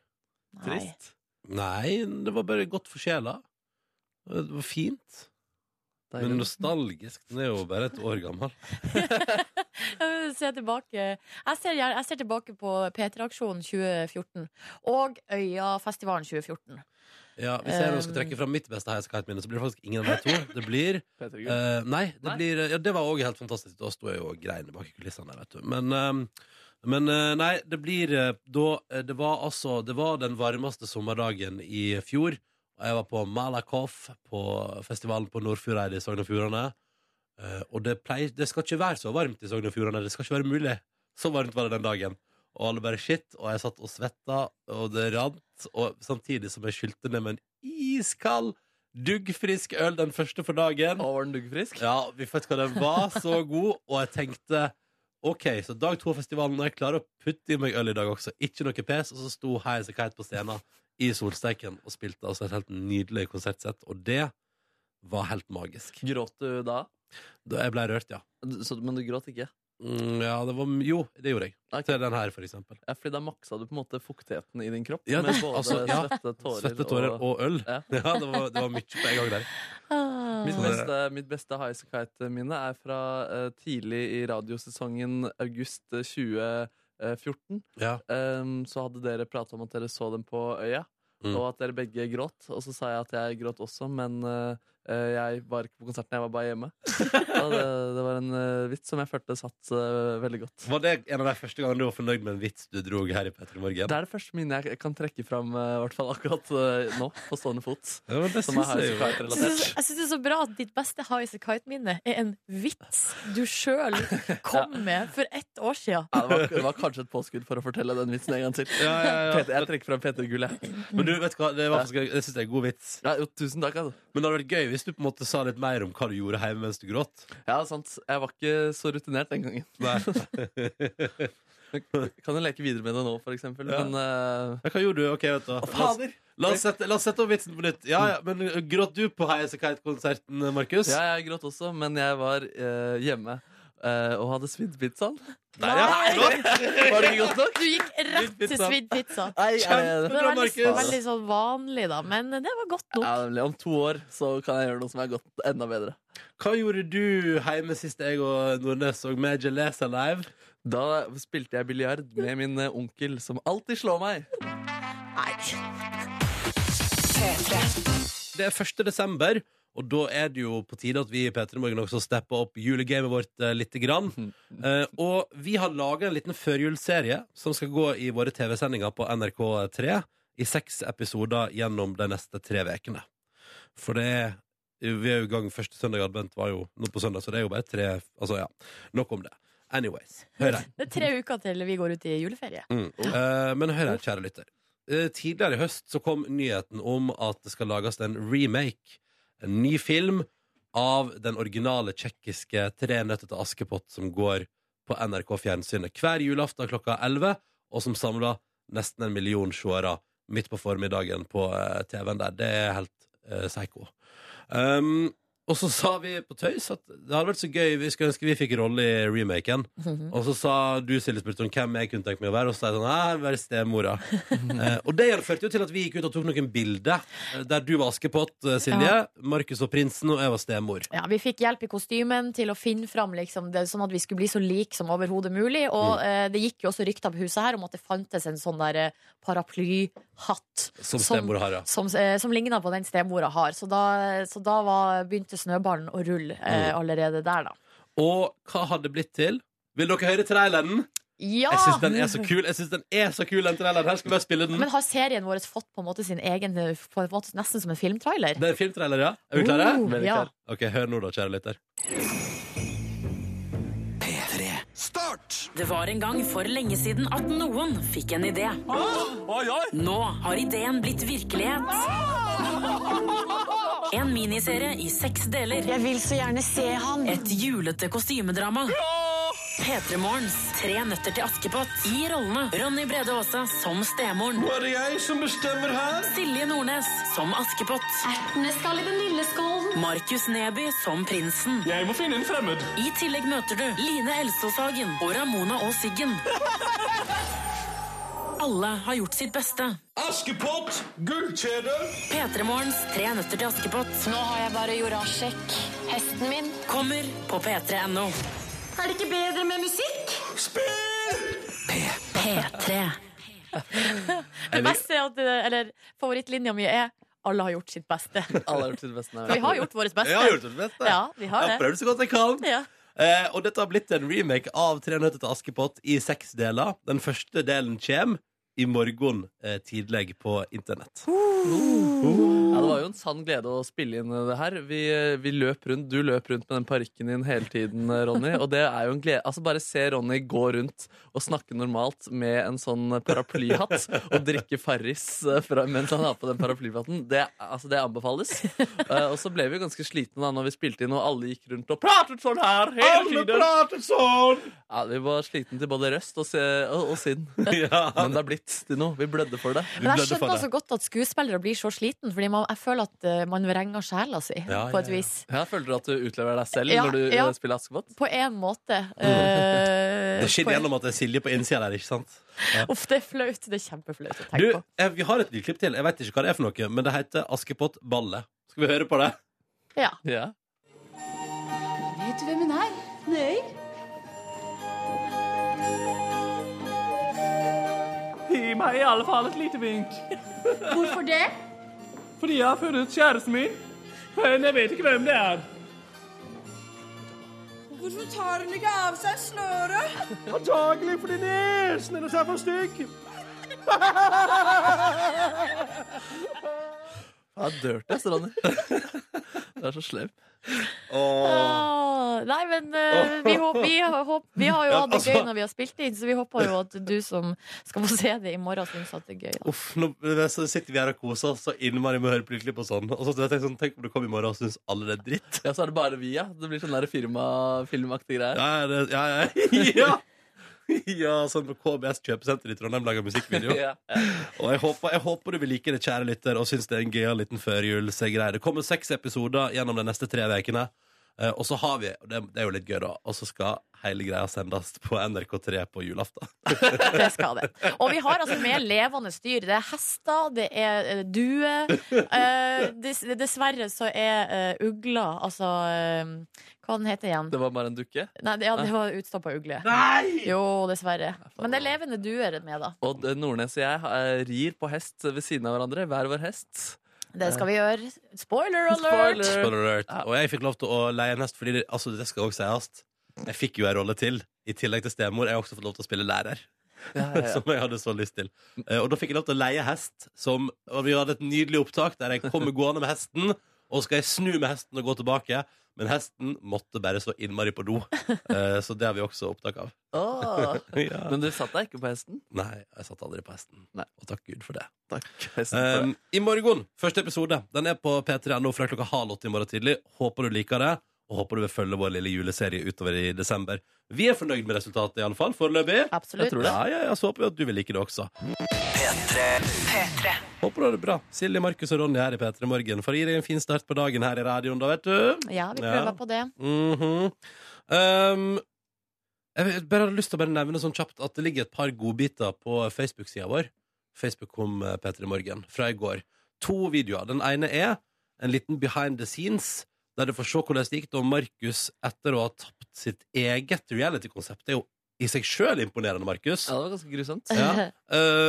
Nei.
Trist.
Nei, det var bare godt for sjela. Det var fint. Men
Deilig.
nostalgisk Den er jo bare et år gammel.
Jeg ser tilbake, jeg ser, gjerne- jeg ser tilbake på P3-aksjonen 2014 og Øyafestivalen 2014.
Ja, Hvis jeg nå skal
Um.
trekke fram mitt beste Heis Kite-minne, så blir det faktisk ingen av de <laughs> to. Det blir
Peter Gull.
Eh, nei, det,
Nei?
Blir, ja, det var òg helt fantastisk. Da sto jeg jo og grein bak i kulissene. Vet du. Men, eh, men eh, nei, det blir eh, da eh, Det var altså Det var den varmeste sommerdagen i fjor. Og jeg var på Malakoff, på festivalen på Nordfjordeid i Sogn og Fjordane. Eh, og det, pleier, det skal ikke være så varmt i Sogn og Fjordane. Det skal ikke være mulig. Så varmt var det den dagen. Og alle bare shit. Og jeg satt og svetta, og det rant. Og samtidig som jeg skylte ned med en iskald, duggfrisk øl den første for dagen.
Å, var den duggfrisk?
Ja, vi vet hva den var så god, og jeg tenkte OK, så dag to av festivalen, jeg klarer å putte i meg øl i dag også. Ikke noe pes. Og så sto Heis og Kite på scenen i solsteiken og spilte altså et helt nydelig konsertsett, og det var helt magisk.
Gråt du da?
Da jeg ble rørt, ja.
Du- Så, men du gråt ikke?
Mm, ja, det var Jo, det gjorde jeg.
Ok.
Til den her, for eksempel.
Ja, fordi da maksa du på en måte fuktigheten i din kropp?
Ja,
med
det-
både
altså, ja.
svette, tårer,
Svette, tårer
og
og øl. <laughs>
Ja.
Ja, det var, det var mye på en gang der.
Ah.
Mitt
Så det-
beste, mitt beste highasakite-minne er fra eh, tidlig i radiosesongen august eh, 2014.
Ja.
Em, Ehm, så hadde dere prata om at dere så dem på øya,
Mm.
og at dere begge gråt. Og så sa jeg at jeg gråt også, men eh, eh, jeg var ikke på konserten, jeg var bare
<laughs>
hjemme. Og det, det var en eh, vits som jeg følte satt eh, veldig godt.
Var det en av de første gangene du var fornøyd med en vits du dro her i Petter i
Det
morgen?
er det første minnet jeg kan trekke fram eh, i hvert fall akkurat eh, nå, på stående fot.
Ja, men det
Som er
synes jeg jo.
Jeg
highasakite-relatert.
syns jeg syns det er så bra at ditt beste Highas Kite-minne er en vits du sjøl
<laughs>
kom med for ett år sia.
Ja, det, var, det var kanskje et påskudd for å fortelle den vitsen en gang til.
Ja, ja, ja.
Peter, jeg trekker fram Peter Gull, jeg.
Men du, vet du hva, det, var faktisk- det syns jeg er en god vits.
Ja, jo, tusen takk, altså.
Men det hadde vært gøy hvis du på en måte sa litt mer om hva du gjorde hjemme mens du gråt.
Ja, sant. Jeg var ikke så rutinert den gangen.
Nei.
Kan jo leke videre med det nå, for eksempel.
Ja.
Men eh,
Hva gjorde du? Ok, vet du. hva. La oss- La oss sette, la oss sette opp vitsen på nytt. Ja, ja, men eh, Gråt du på Heise Kite-konserten, eh, Markus?
Ja, jeg gråt også, men jeg var eh, hjemme eh, og hadde svidd pizzaen.
Der, ja. Godt.
<laughs> Var det ikke godt nok?
Du gikk rett til
Pizza.
svidd pizza.
Nei,
Det
Kjempebra,
var veldig,
Markus.
veldig sånn vanlig, da, men det var godt nok.
ja, nemlig. Om to år så kan jeg gjøre noe som er godt enda bedre.
Hva gjorde du hjemme sist jeg og Nordnes så Major Lazer live?
Da spilte jeg biljard med min eh, onkel, som alltid slår meg.
Nei.
Det er 1. desember, og da er det jo på tide at vi i P3 Morgen også stepper opp julegamet vårt eh, lite grann. Eh, og vi har laga en liten førjulsserie som skal gå i våre TV-sendinger på NRK3 i seks episoder gjennom de neste tre ukene. For det er Vi er jo i gang første søndag i advent, var jo nå på søndag, så det er jo bare tre Altså, ja. Nok om det. Anyways. Hør her.
Det er tre uker til vi går ut i juleferie.
Mm. Eh, men hør her, kjære lytter. Eh, tidligere i høst så kom nyheten om at det skal lages en remake, en ny film, av den originale tsjekkiske Tre nøtter til Askepott som går på NRK Fjernsynet hver julaften klokka 11, og som samler nesten en million seere midt på formiddagen på eh, TV-en der. Det er helt eh, psycho. Um, og så sa vi på tøys at det hadde vært så gøy, vi skulle ønske vi fikk rolle i remaken. Og så sa du, Silje, spurte om hvem jeg kunne tenke meg å være, og så sa jeg sånn, nei, vær stemora.
<laughs>
eh, og det førte jo til at vi gikk ut og tok noen bilder, eh, der du var Askepott, eh, Silje,
Ja.
Markus og prinsen, og jeg var stemor.
Ja, vi fikk hjelp i kostymen til å finne fram liksom, det, sånn at vi skulle bli så like som overhodet mulig. Og
Mm.
eh, det gikk jo også rykter på huset her om at det fantes en sånn der eh, paraplyhatt
Som
Som-
stemor har, ja.
som, eh, som ligna på den stemora har. Så da, så da var, begynte snøballen å rulle
Mm.
eh, allerede der, da.
Og hva hadde det blitt til? Vil dere høre traileren?
Ja!
Jeg syns den er så kul, jeg synes den er så kul, den traileren. Her skal vi bare spille den.
Men har serien vår fått på en måte sin egen eh, på en måte Nesten som en filmtrailer?
Det er en filmtrailer, ja. Er vi klare?
Oh,
Veldig
ja.
klar.
Ok, hør nå da, kjære lytter.
P3. Start!
Det var en gang for lenge siden at noen fikk en idé. Nå har ideen blitt virkelighet. En miniserie i seks deler.
Jeg vil så gjerne se han.
Et julete kostymedrama. P3morgens Tre nøtter til Askepott i rollene Ronny Brede Aase som stemoren.
Nå er det jeg som bestemmer her.
Silje Nordnes som Askepott.
Ertene skal i den lille skålen.
Markus Neby som prinsen.
Jeg må finne en fremmed.
I tillegg møter du Line Elsåshagen og Ramona og Siggen. <laughs> Alle har gjort sitt beste.
Askepott, gullkjede.
P3morgens Tre nøtter til Askepott
Nå har jeg bare Jorasjek, hesten min.
kommer på p3.no.
Er det ikke bedre med musikk?
P3.
Det beste er at, eller favorittlinja mi er 'Alle har gjort sitt
<laughs>
beste'.
Alle har gjort sitt beste.
For vi har gjort vårt beste.
Jeg har gjort det beste.
Ja, vi
Jeg
har
har
det.
prøvd så godt jeg kan.
Ja.
Eh, og dette har blitt en remake av Tre nøtter til Askepott i seks deler. Den første delen kommer i morgen eh, tidlig på <laughs> internett.
Ja, det var jo en sann glede å spille inn det her. Vi, vi løp rundt, Du løp rundt med den parykken din hele tiden, Ronny. Og det er jo en glede Altså Bare se Ronny gå rundt og snakke normalt med en sånn paraplyhatt og drikke Farris eh, fra, mens han har på den paraplyhatten. Det, altså, det anbefales. Eh, og så ble vi ganske slitne da når vi spilte inn, og alle gikk rundt og pratet sånn her hele tiden. Ja, vi var slitne til både røst og, se, og, og sinn.
Ja.
Men det er blitt til noe. Vi blødde for det.
Vi
Men jeg
blødde for
skjønner
det.
så godt at skuespillere blir så sliten, Fordi man, jeg føler at eh, man vrenger sjela si,
Ja, ja,
på et
ja.
vis.
Ja, føler du at du utleverer deg selv
Ja,
når du eh,
ja.
spiller Askepott?
På én
<laughs>
måte. eh,
Det skinner
på-
gjennom at det er Silje på innsida der, ikke sant?
Uff, det er flaut. Det er kjempeflaut å
Du,
tenke på.
eh, vi har et lydklipp til. Jeg vet ikke hva det er for noe, men det heter Askepott Ballet. Skal vi høre på det?
Ja.
Ja.
Vet du hvem hun er? Nei.
Gi meg i alle fall et lite vink.
Hvorfor det?
Fordi jeg har funnet kjæresten min. Men jeg vet ikke hvem det er.
Hvorfor tar hun ikke av seg snøret?
Antagelig fordi nesen hennes er for stygg.
Ja, dirty, ass, Ronny. Du er så slem.
Ah, nei, men eh, vi, håp, vi, har- håp, vi har jo
Ja,
hatt det
altså-
gøy når vi har spilt inn, så vi håper jo at du som skal få se det i morgen, syns at det er gøy. Da.
Uff, nå eh, så sitter vi her og koser oss så innmari med å høre på lydklipp og sånn. Og så tenker jeg sånn, Tenk om du kommer i morgen og syns alle det er dritt.
Ja, så er det bare vi, ja. Det blir sånn der firma- filmaktig greier.
Ja, det, ja, ja. ja. <laughs> Ja, sånn på KBS kjøpesenter i Trondheim lager <laughs> musikkvideo.
Ja.
Og jeg håper, jeg håper du vil like det, kjære lytter, og syns det er en gøyal liten førjulsgreie. Det kommer seks episoder gjennom de neste tre ukene. Eh, Og så har vi, og det, det er jo litt gøy, da, og så skal hele greia sendes på NRK3 på julaften.
Det skal det. Og vi har altså med levende dyr. Det er hester, det er eh, duer. Eh, dess- dessverre så er uh, ugla Altså eh, Hva den heter igjen?
Det var bare en dukke.
Nei, det, ja, det var utstoppa ugle. Jo, dessverre. Men det er levende duer med, da.
Og det- Nordnes og jeg eh, rir på hest ved siden av hverandre. Hver vår hest.
Det skal vi gjøre. Spoiler alert!
Spoiler alert. Og jeg fikk lov til å leie en hest, fordi det, altså, det skal også sies. Jeg fikk jo en rolle til. I tillegg til stemor. Jeg har også fått lov til å spille lærer.
Ja, ja, ja.
<laughs> Som jeg hadde så lyst til. Eh, Og da fikk jeg lov til å leie hest. Som, og vi hadde et nydelig opptak der jeg kommer gående med hesten, og skal jeg snu med hesten og gå tilbake. Men hesten måtte bare så innmari på do. Eh, Så det har vi også opptak
<laughs>
av.
Åh.
Ja.
Men du satt deg ikke på hesten?
Nei, jeg satt aldri på hesten.
Nei.
Og takk Gud for det.
Takk. Hesten for det.
Um, I morgen, første episode. Den er på p3.no fra klokka halv åtte i morgen tidlig. Håper du liker det, og håper du vil følge vår lille juleserie utover i desember. Vi er fornøyd med resultatet, iallfall foreløpig.
Absolutt.
Ja, ja, ja, så håper vi at du vil like det også. Håper du har det bra. Silje, Markus og Ronny her i P3 Morgen for å gi deg en fin start på dagen her i radioen, da, vet du.
Ja, vi prøver
Ja.
på det.
Mhm. um, jeg vil- bare hadde lyst til å bare nevne sånn kjapt at det ligger et par godbiter på Facebook-sida vår. Facebook kom eh, Peter i morgen fra i går. To videoer. Den ene er en liten behind the scenes, der du får se hvordan det gikk da Markus, etter å ha tapt sitt eget reality-konsept. Det er jo i seg sjøl imponerende, Markus.
Ja, det var ganske grusomt.
<laughs> Ja.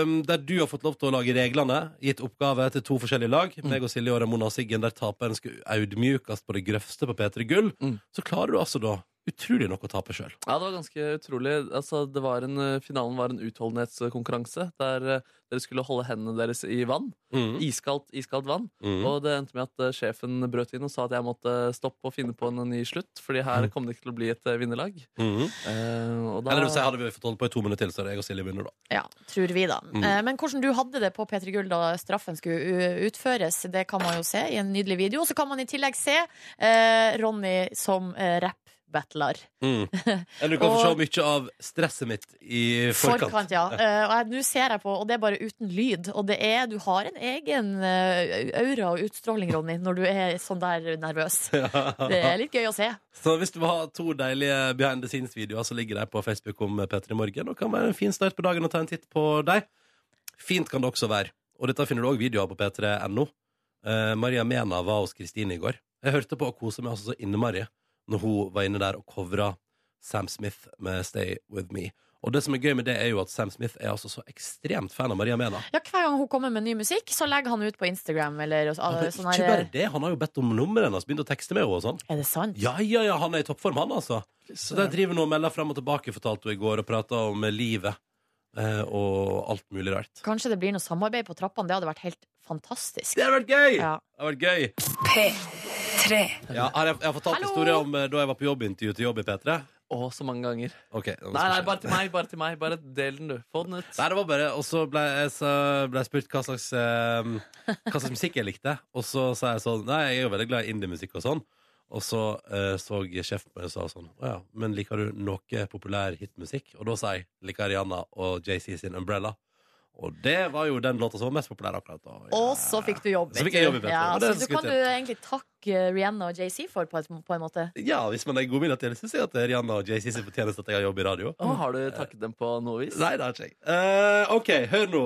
Um, der du har fått lov til å lage reglene, gitt oppgave til to forskjellige lag. Meg og Silje og Ramona og Siggen, der taperen skulle audmjukast på det grøvste på P3 Gull.
Mm.
Så klarer du altså da utrolig nok å tape sjøl.
Ja, det var ganske utrolig. Altså, det var en, eh, finalen var en utholdenhetskonkurranse der eh, dere skulle holde hendene deres i vann.
Mm.
Iskaldt, iskaldt vann.
Mm.
Og det endte med at eh, sjefen brøt inn og sa at jeg måtte stoppe og finne på en ny slutt, fordi her kom det ikke til å bli et eh, vinnerlag.
Mm.
Eh, og da,
Eller det vil si, hadde vi fått holde på i to minutter til, så hadde jeg og Silje vunnet, da.
Ja, tror vi, da.
Mm.
Eh, Men hvordan du hadde det på P3 Gull da straffen skulle u- utføres, det kan man jo se i en nydelig video. Så kan man i tillegg se eh, Ronny som eh, battler.
Mm. Eller du kan få
Og-
se mye av stresset mitt i forkant.
Forkant, ja. Eh, og jeg- Nå ser jeg på, og det er bare uten lyd. Og det er, du har en egen eh, aura og utstråling, Ronny, når du er sånn der nervøs.
<laughs>
Det er litt gøy å se.
Så hvis du vil ha to deilige behind the scenes-videoer, så ligger de på Facebook om P3 Morgen. Og kan være en fin start på dagen å ta en titt på dem. Fint kan det også være. Og dette finner du òg videoer på p3.no. Eh, Maria Mena var hos Kristine i går. Jeg hørte på og kosa meg altså så innmari når hun var inne der og covra Sam Smith med Stay With Me. Og det som er gøy med det, er jo at Sam Smith er altså så ekstremt fan av Maria Mena.
Ja, Hver gang hun kommer med ny musikk, så legger han ut på Instagram. Eller, og så-
Ja, men
sånn
ikke
her, eh,
bare det, han har jo bedt om nummeret hennes, begynt å tekste med henne og sånn.
Er det sant?
Ja, ja, ja, han er i toppform, han altså. Så der driver hun og melder fram og tilbake, fortalte hun i går, og prata om eh, livet eh, og alt mulig rart.
kanskje det blir noe samarbeid på trappene. Det hadde vært helt fantastisk.
Det hadde vært gøy!
Ja.
Det har vært gøy.
P3.
Ja, har jeg, jeg har fortalt historier om eh, da jeg var på jobbintervju til jobb i P3.
Å, så mange ganger.
Ok, nå skal
Nei, nei,
jeg-
bare til meg. Bare til meg. Bare del den, du. Få den ut.
Nei, det var bare Og så ble jeg, så ble jeg spurt hva slags, eh, hva slags musikk jeg likte. Og så sa jeg sånn Nei, jeg er jo veldig glad i indiemusikk og sånn. Og så eh, så sjefen min og sa sånn Å ja, men liker du noe populær hitmusikk? Og da sa jeg liker Rihanna og JC sin 'Umbrella'. Og det var jo den låta som var mest populær akkurat da.
Og så fikk du jobb.
Så fikk
vet
jeg jobb
du.
i P3,
Ja,
og det
så du
skulle
kan du
til.
egentlig takke Rihanna og JC for, på, et, på en måte.
Ja, hvis man er godvillig til det, syns jeg at Rihanna og JC sin fortjeneste at jeg har jobb i radio.
Å, har du takket dem på noe vis?
Nei, det har ikke jeg. Eh, OK, hør nå.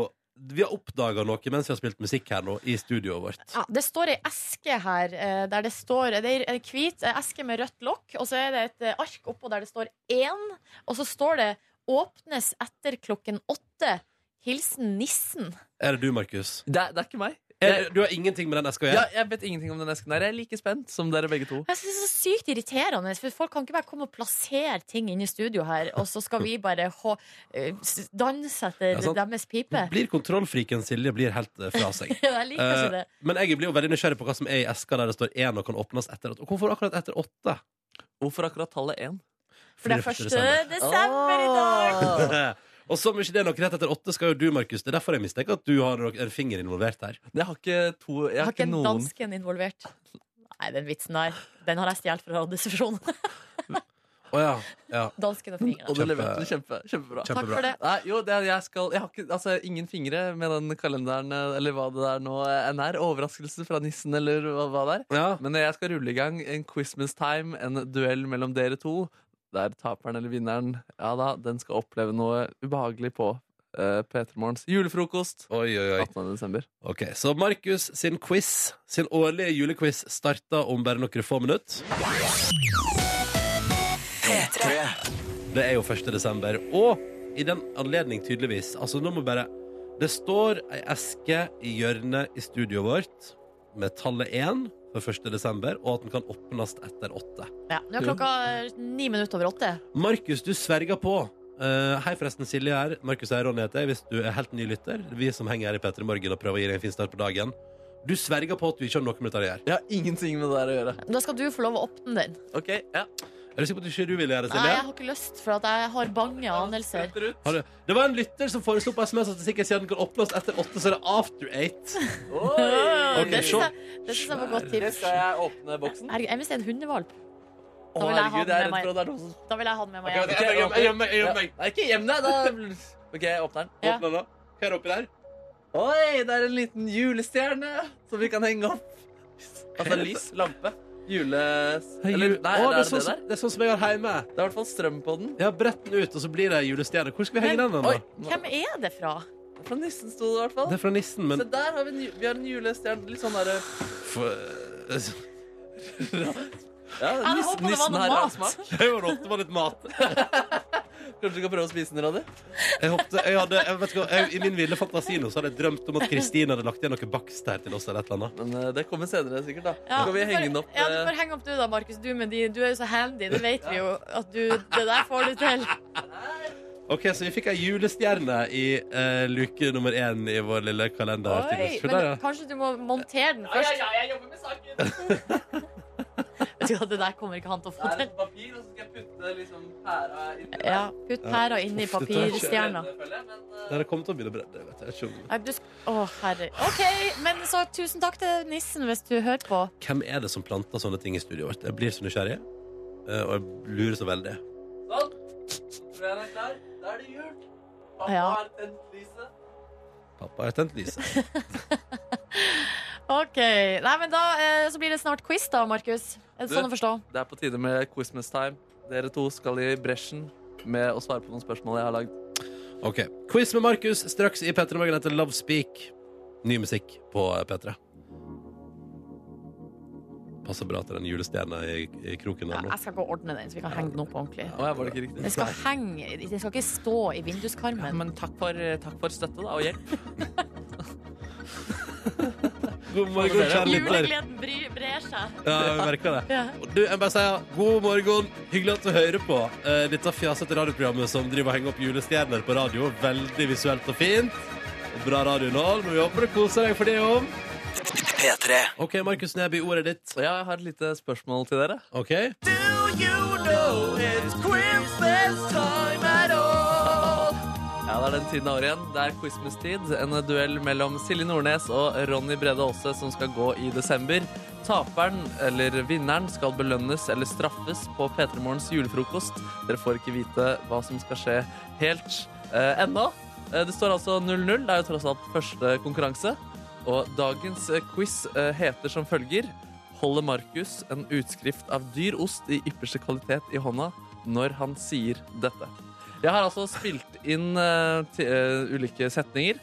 Vi har oppdaga noe mens vi har spilt musikk her nå, i studioet vårt.
Ja, det står ei eske her eh, der det står Det er ei hvit eh, eske med rødt lokk, og så er det et eh, ark oppå der det står én, og så står det 'Åpnes etter klokken åtte'. Hilsen nissen.
Er det du, Markus?
Det, er- det er ikke meg.
Er, du har ingenting med den eska å
Ja,
gjøre?
jeg vet ingenting om den esken her. Jeg er like spent som dere begge to.
Jeg synes det er så sykt irriterende, for folk kan ikke bare komme og plassere ting inne i studio her, og så skal vi bare hå- eh, s- danse etter
Ja, sant. Eh,
deres pipe.
Blir kontrollfriken Silje blir helt eh, fra seg.
<laughs>
<laughs>
Jeg liker ikke det.
Eh, men jeg blir jo veldig nysgjerrig på hva som er i eska der det står én og kan åpnes etter åtte. Og Hvorfor akkurat etter åtte?
Hvorfor akkurat tallet én?
For det er første desember i dag!
<laughs> og som ikke det er nok rett etter åtte, skal jo du, Markus. Det er derfor jeg mistenker at du har nok en finger involvert her.
Jeg har ikke to Jeg
Har
har
ikke
ikke
en
noen
dansken involvert? Nei, den vitsen der Den har jeg stjålet fra Radiosesjonen.
Å ja. ja.
<laughs> Dansken og
Og
fingrene.
du leverte det kjempe, kjempebra.
Takk Kjempebra. for
det.
Nei, jo, det, er- jeg skal, jeg har ikke, altså, ingen fingre med den kalenderen eh, eller hva det der nå eh, enn er. Overraskelse fra nissen eller hva, hva det er.
Ja.
Men jeg skal rulle i gang en Christmas time, en duell mellom dere to. Der taperen eller vinneren ja da, den skal oppleve noe ubehagelig på eh, P3 Morgens julefrokost.
Oi, oi, oi.
18. desember.
Ok, Så Markus sin quiz, sin årlige julequiz, starter om bare noen få minutter. Det er jo 1. desember. Og i den anledning, tydeligvis Altså, nå må bare Det står ei eske i hjørnet i studioet vårt med tallet 1 for 1. desember, og at den kan åpnes etter 8.
Ja, nå er klokka ni minutter over åtte.
Markus, du sverger på. Eh, hei, forresten. Silje her. Markus her, Ronny heter jeg. Hvis du er helt ny lytter, vi som henger her i P3 Morgen og prøver å gi deg en fin start på dagen. Du sverger på at du ikke har noe med dette å gjøre.
Jeg har ingenting med det der å gjøre.
Da skal du få lov å åpne den.
Ok, ja.
Er du sikker på at du ikke du vil gjøre det,
Nei,
Silje?
jeg har ikke lyst, for at jeg har bange anelser.
Setter ut.
Har du- Det var en lytter som foreslo på SMS at det sikkert siden kan oppnås etter åtte, så er det after eight.
Oi!
Ok,
Det
se.
syns jeg, det synes jeg var godt
Det
tips.
skal jeg åpne boksen.
Herregud, Jeg vil se en hundevalp.
Å,
Da vil jeg ha
herregud,
den
jeg er
med meg.
redd for at det er noen som
Da vil jeg ha den med meg
Ok, ok,
hjem.
Jeg gjemmer- jeg gjemmer- jeg gjemmer meg.
Ja. Nei, ikke gjem deg, da. OK, jeg åpner den.
Ja.
Åpne den da. Hva er det oppi der?
Oi, det er en liten julestjerne som vi kan henge opp. Altså lys, lampe, jule... Eller, nei,
Å,
det er det
sånn, som-
der.
det er sånn som jeg har hjemme.
Det er i hvert fall strøm på den.
Ja, brett den ut, og så blir det ei julestjerne. Hvor skal vi henge den
Men-
den,
Oi,
da?
nå-
Hvem er det fra?
fra nissen sto det i hvert fall.
Det er fra nissen, men
Se, der har vi en, ju- vi har en julestjerne. Litt sånn derre
for, <laughs>
ja,
hadde
nissen-
håpet det var
nissen
noe
her har
mat.
smak.
Jeg var opp, det var litt mat.
Kanskje du kan prøve å spise den, Ronny?
Jeg håpte, jeg hadde, jeg vet ikke, hva, jeg, I min ville fantasi nå så hadde jeg drømt om at Kristine hadde lagt igjen noe bakst her til oss. eller et eller annet
Men eh, det kommer senere, sikkert. da
Ja,
Skal vi
du får-
henge den opp?
Ja, du
eh,
får henge opp du da, Markus. Du, med de, du er jo så handy. Det vet vi jo at du Det der får du til.
Ok, Så vi fikk ei julestjerne i eh, luke nummer én i vår lille kalender. her til
Oi,
oss. Se der,
men kanskje du må montere den først?
ja, jeg jobber med <laughs> saken.
<laughs> Vet du hva, Det der kommer ikke han til å få
Her er
til.
et papir, og så skal jeg putte liksom pæra inni der.
Ja, Putt pæra inn i
Uff, dette er ikke-
papirstjerna.
Jeg føler jeg, men, eh,
ja. Der er kommet til å begynne å brenne. jeg vet ikke om-
Nei, du sk- Å, herre. OK, men så tusen takk til nissen hvis du hører på.
Hvem er det som planter sånne ting i studioet vårt? Jeg blir så nysgjerrig. eh, og jeg lurer så veldig.
Sånn. Tror jeg den er klar. Da er det jul. Pappa
Ja.
har tent lyset.
Pappa har tent lyset.
OK. Nei, men da eh, så blir det snart quiz, da, Markus. Er det sånn å
Du,
forstå?
Det er på tide med Christmas time. Dere to skal i bresjen med å svare på noen spørsmål jeg har lagd.
Ok, Quiz med Markus straks i P3 Morgen etter Love Speak. Ny musikk på eh, P3. Passer bra til den julestjerna i, i kroken der nå.
Jeg skal gå og ordne den, så vi kan henge den opp ordentlig.
Å, jeg var det ikke riktig.
Den skal henge Den skal ikke stå i vinduskarmen.
Men takk for, eh, takk for støtte da, og hjelp.
God morgen, kjære lytter.
Julegleden bry- brer seg.
Ja, jeg merker det.
Ja.
Og Du, jeg bare sier god morgen. Hyggelig at du hører på eh, dette fjasete radioprogrammet som driver og henger opp julestjerner på radio. Veldig visuelt og fint. Og bra radioinnhold. Men vi håper du koser deg for det òg.
P3.
OK, Markus Neby, ordet ditt.
Ja, jeg har et lite spørsmål til dere.
Ok
Ja, Det er den tiden av året igjen. Det er Christmas-tid. En duell mellom Silje Nordnes og Ronny Brede Aase som skal gå i desember. Taperen eller vinneren skal belønnes eller straffes på P3 Morgens julefrokost. Dere får ikke vite hva som skal skje helt eh, ennå. Eh, Det står altså 0-0. Det er jo tross alt første konkurranse. Og dagens eh, quiz eh, heter som følger Holder Markus en utskrift av dyr ost i ypperste kvalitet i hånda når han sier dette? Jeg har altså spilt inn eh, ti- eh, ulike setninger,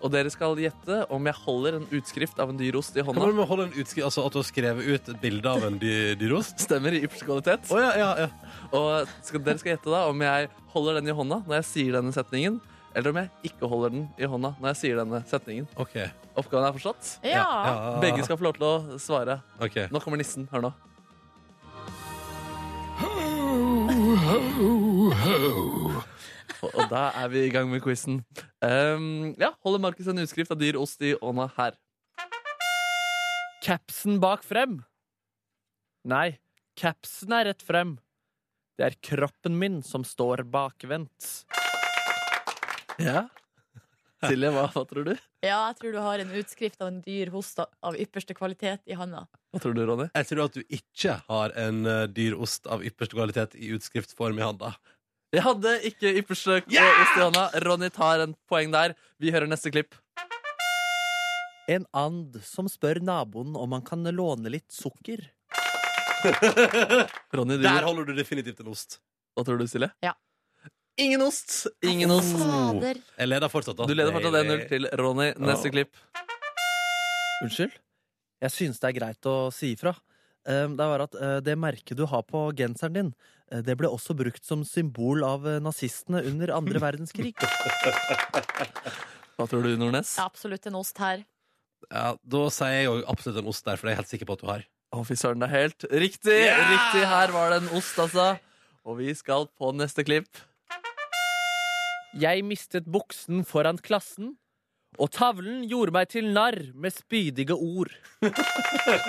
og dere skal gjette om jeg holder en utskrift av en dyr ost i
Kan man
hånda.
holde en utskri altså at du har skrevet ut et bilde av en dy dyrost?
Stemmer i ypperste kvalitet.
Å, ja, ja, ja.
Og skal, dere skal gjette da om jeg holder den i hånda når jeg sier denne setningen, eller om jeg ikke holder den i hånda når jeg sier denne setningen.
Ok.
Oppgaven er forstått?
Ja.
Ja.
Begge skal få lov til å svare.
Ok.
Nå kommer nissen. Hør nå. Og og da er vi i gang med quizen. Ehm, ja, holder Markus en utskrift av dyr ost i ånda her?
Capsen bak frem? Nei, capsen er rett frem. Det er kroppen min som står bakvendt.
Ja. Silje, hva, hva tror du?
ja, jeg tror du har en utskrift av en dyr host av ypperste kvalitet i handa.
Hva tror du, Ronny?
Jeg tror at du ikke har en eh, dyr ost av ypperste kvalitet i utskriftform i handa.
Jeg hadde ikke ypperste eh, ost i hånda. Ronny tar en poeng der. Vi hører neste klipp.
En and som spør naboen om han kan låne litt sukker.
Ronny, du,
Der holder du definitivt en ost.
hva tror du, Silje?
Ja.
Ingen ost! Ingen ost.
Fader.
Jeg leder fortsatt, da.
Du leder fortsatt 1-0
Deilig.
til Ronny. Neste
Ja.
klipp.
Unnskyld? Jeg syns det er greit å si ifra. Eh, Det var at eh, det merket du har på genseren din, eh, det ble også brukt som symbol av eh, nazistene under
<laughs>
andre verdenskrig.
Hva tror du, Nordnes?
Ja, Absolutt en ost her.
Ja, da sier jeg jo absolutt en ost der, for det er jeg helt sikker på at du har.
Å, fy søren, det er helt riktig! Riktig, her var det en ost, altså. Og vi skal på neste klipp.
Jeg mistet buksen foran klassen, og tavlen gjorde meg til narr med spydige ord.
<laughs>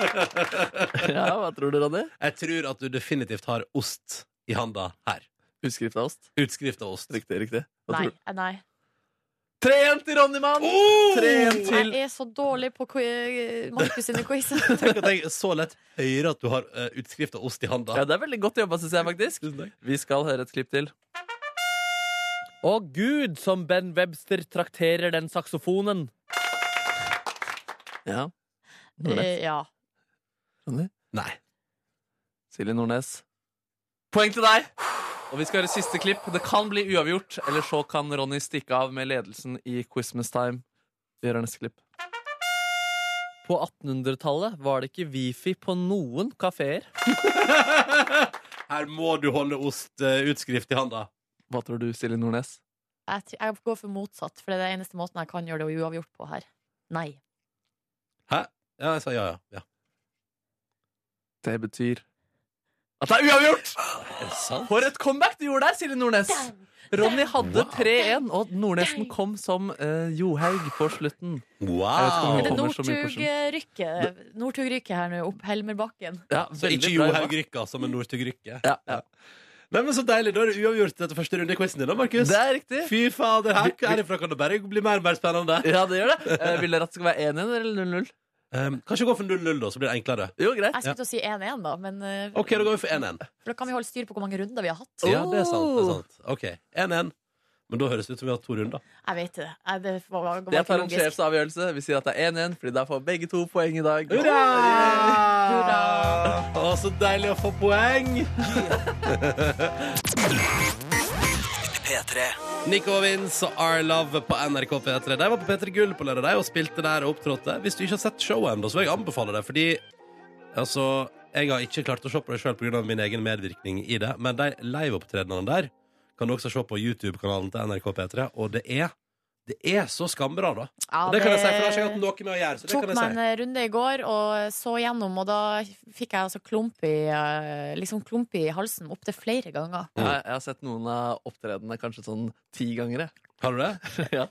Ja, Hva tror du, Ronny?
Jeg tror at du definitivt har ost i handa her.
Utskrift av ost.
Utskrift av ost.
Riktig, riktig. Hva
Nei.
tror du?
eh, Nei.
3-1 til Ronny, mann!
Oh!
3-1 til
Jeg er så dårlig på qui- Markus sine
<laughs>
quiz.
Tenk at jeg så lett hører at du har eh, utskrift av ost i handa.
Ja, Det er veldig godt jobba, syns jeg, faktisk. Vi skal høre et klipp til.
Å gud, som Ben Webster trakterer den saksofonen.
Ja. Nordnes.
Eh, Ja.
Nei. <laughs>
Silje Nordnes. Poeng til deg! Og vi skal høre siste klipp. Det kan bli uavgjort, eller så kan Ronny stikke av med ledelsen i Christmas Time. Vi hører neste klipp.
På 1800-tallet var det ikke wifi på noen kafeer.
Her må du holde ost-utskrift i handa.
Hva tror du, Silje Nordnes?
Jeg, tr- jeg går for motsatt, for det er den eneste måten jeg kan gjøre det uavgjort på her. Nei.
Hæ? Ja, jeg sa ja, ja. ja.
Det betyr at det er uavgjort!
Er det sant?
For et comeback du gjorde der, Silje Nordnes! Ronny hadde 3-1, og Nordnesen kom som eh, Johaug på slutten.
Wow!
Jeg
Er det
kommer så mye på
Northug-rykket Northug her nå, opp Helmerbakken?
Ja,
Så
veldig
ikke
bra
Johaug
jobba.
Rykka som en Northug Rykke.
Ja, ja.
Nei, men Så deilig. Da er det uavgjort etter første runde i quizen din, da, Markus.
Det er riktig.
Fy fader, her herifra kan det bare bli mer og mer spennende.
Ja, det gjør det. Eh, vil dere at det skal være 1-1 eller 0-0?
Um, kanskje gå for 0-0, da, så blir det enklere.
Jo, greit.
Jeg skulle til å si 1-1, da, men eh,
OK, da går vi for 1-1.
for da kan vi holde styr på hvor mange runder vi har hatt.
Ja, det er sant. Det er sant. Oh. OK, 1-1. Men da høres det ut som vi har hatt to runder.
Jeg vet det. Jeg, det var, var, var
Jeg
ikke
tar en
logisk.
sjefsavgjørelse. Vi sier at det er 1-1, fordi da får begge to poeng i dag.
Å, så deilig å få poeng!
P3.
Nico og Vince og Our Love på NRK P3. De var på P3 Gull på lørdag de, og spilte der og opptrådte. Hvis du ikke har sett showet ennå, så vil jeg anbefale det, fordi altså Jeg har ikke klart å se på det sjøl pga. min egen medvirkning i det, men de liveopptredenene der kan du også se på YouTube-kanalen til NRK P3, og det er det er så skambra, da.
Ja,
Og det kan jeg si,
det-
for det har ikke jeg hatt noe med å gjøre. Så det
tok
kan jeg
meg
si.
en eh, runde i går og så gjennom, og da fikk jeg altså klump i, eh, liksom klump i halsen opptil flere ganger.
Jeg, jeg har sett noen av opptredenene kanskje sånn ti ganger. Jeg.
Har du det?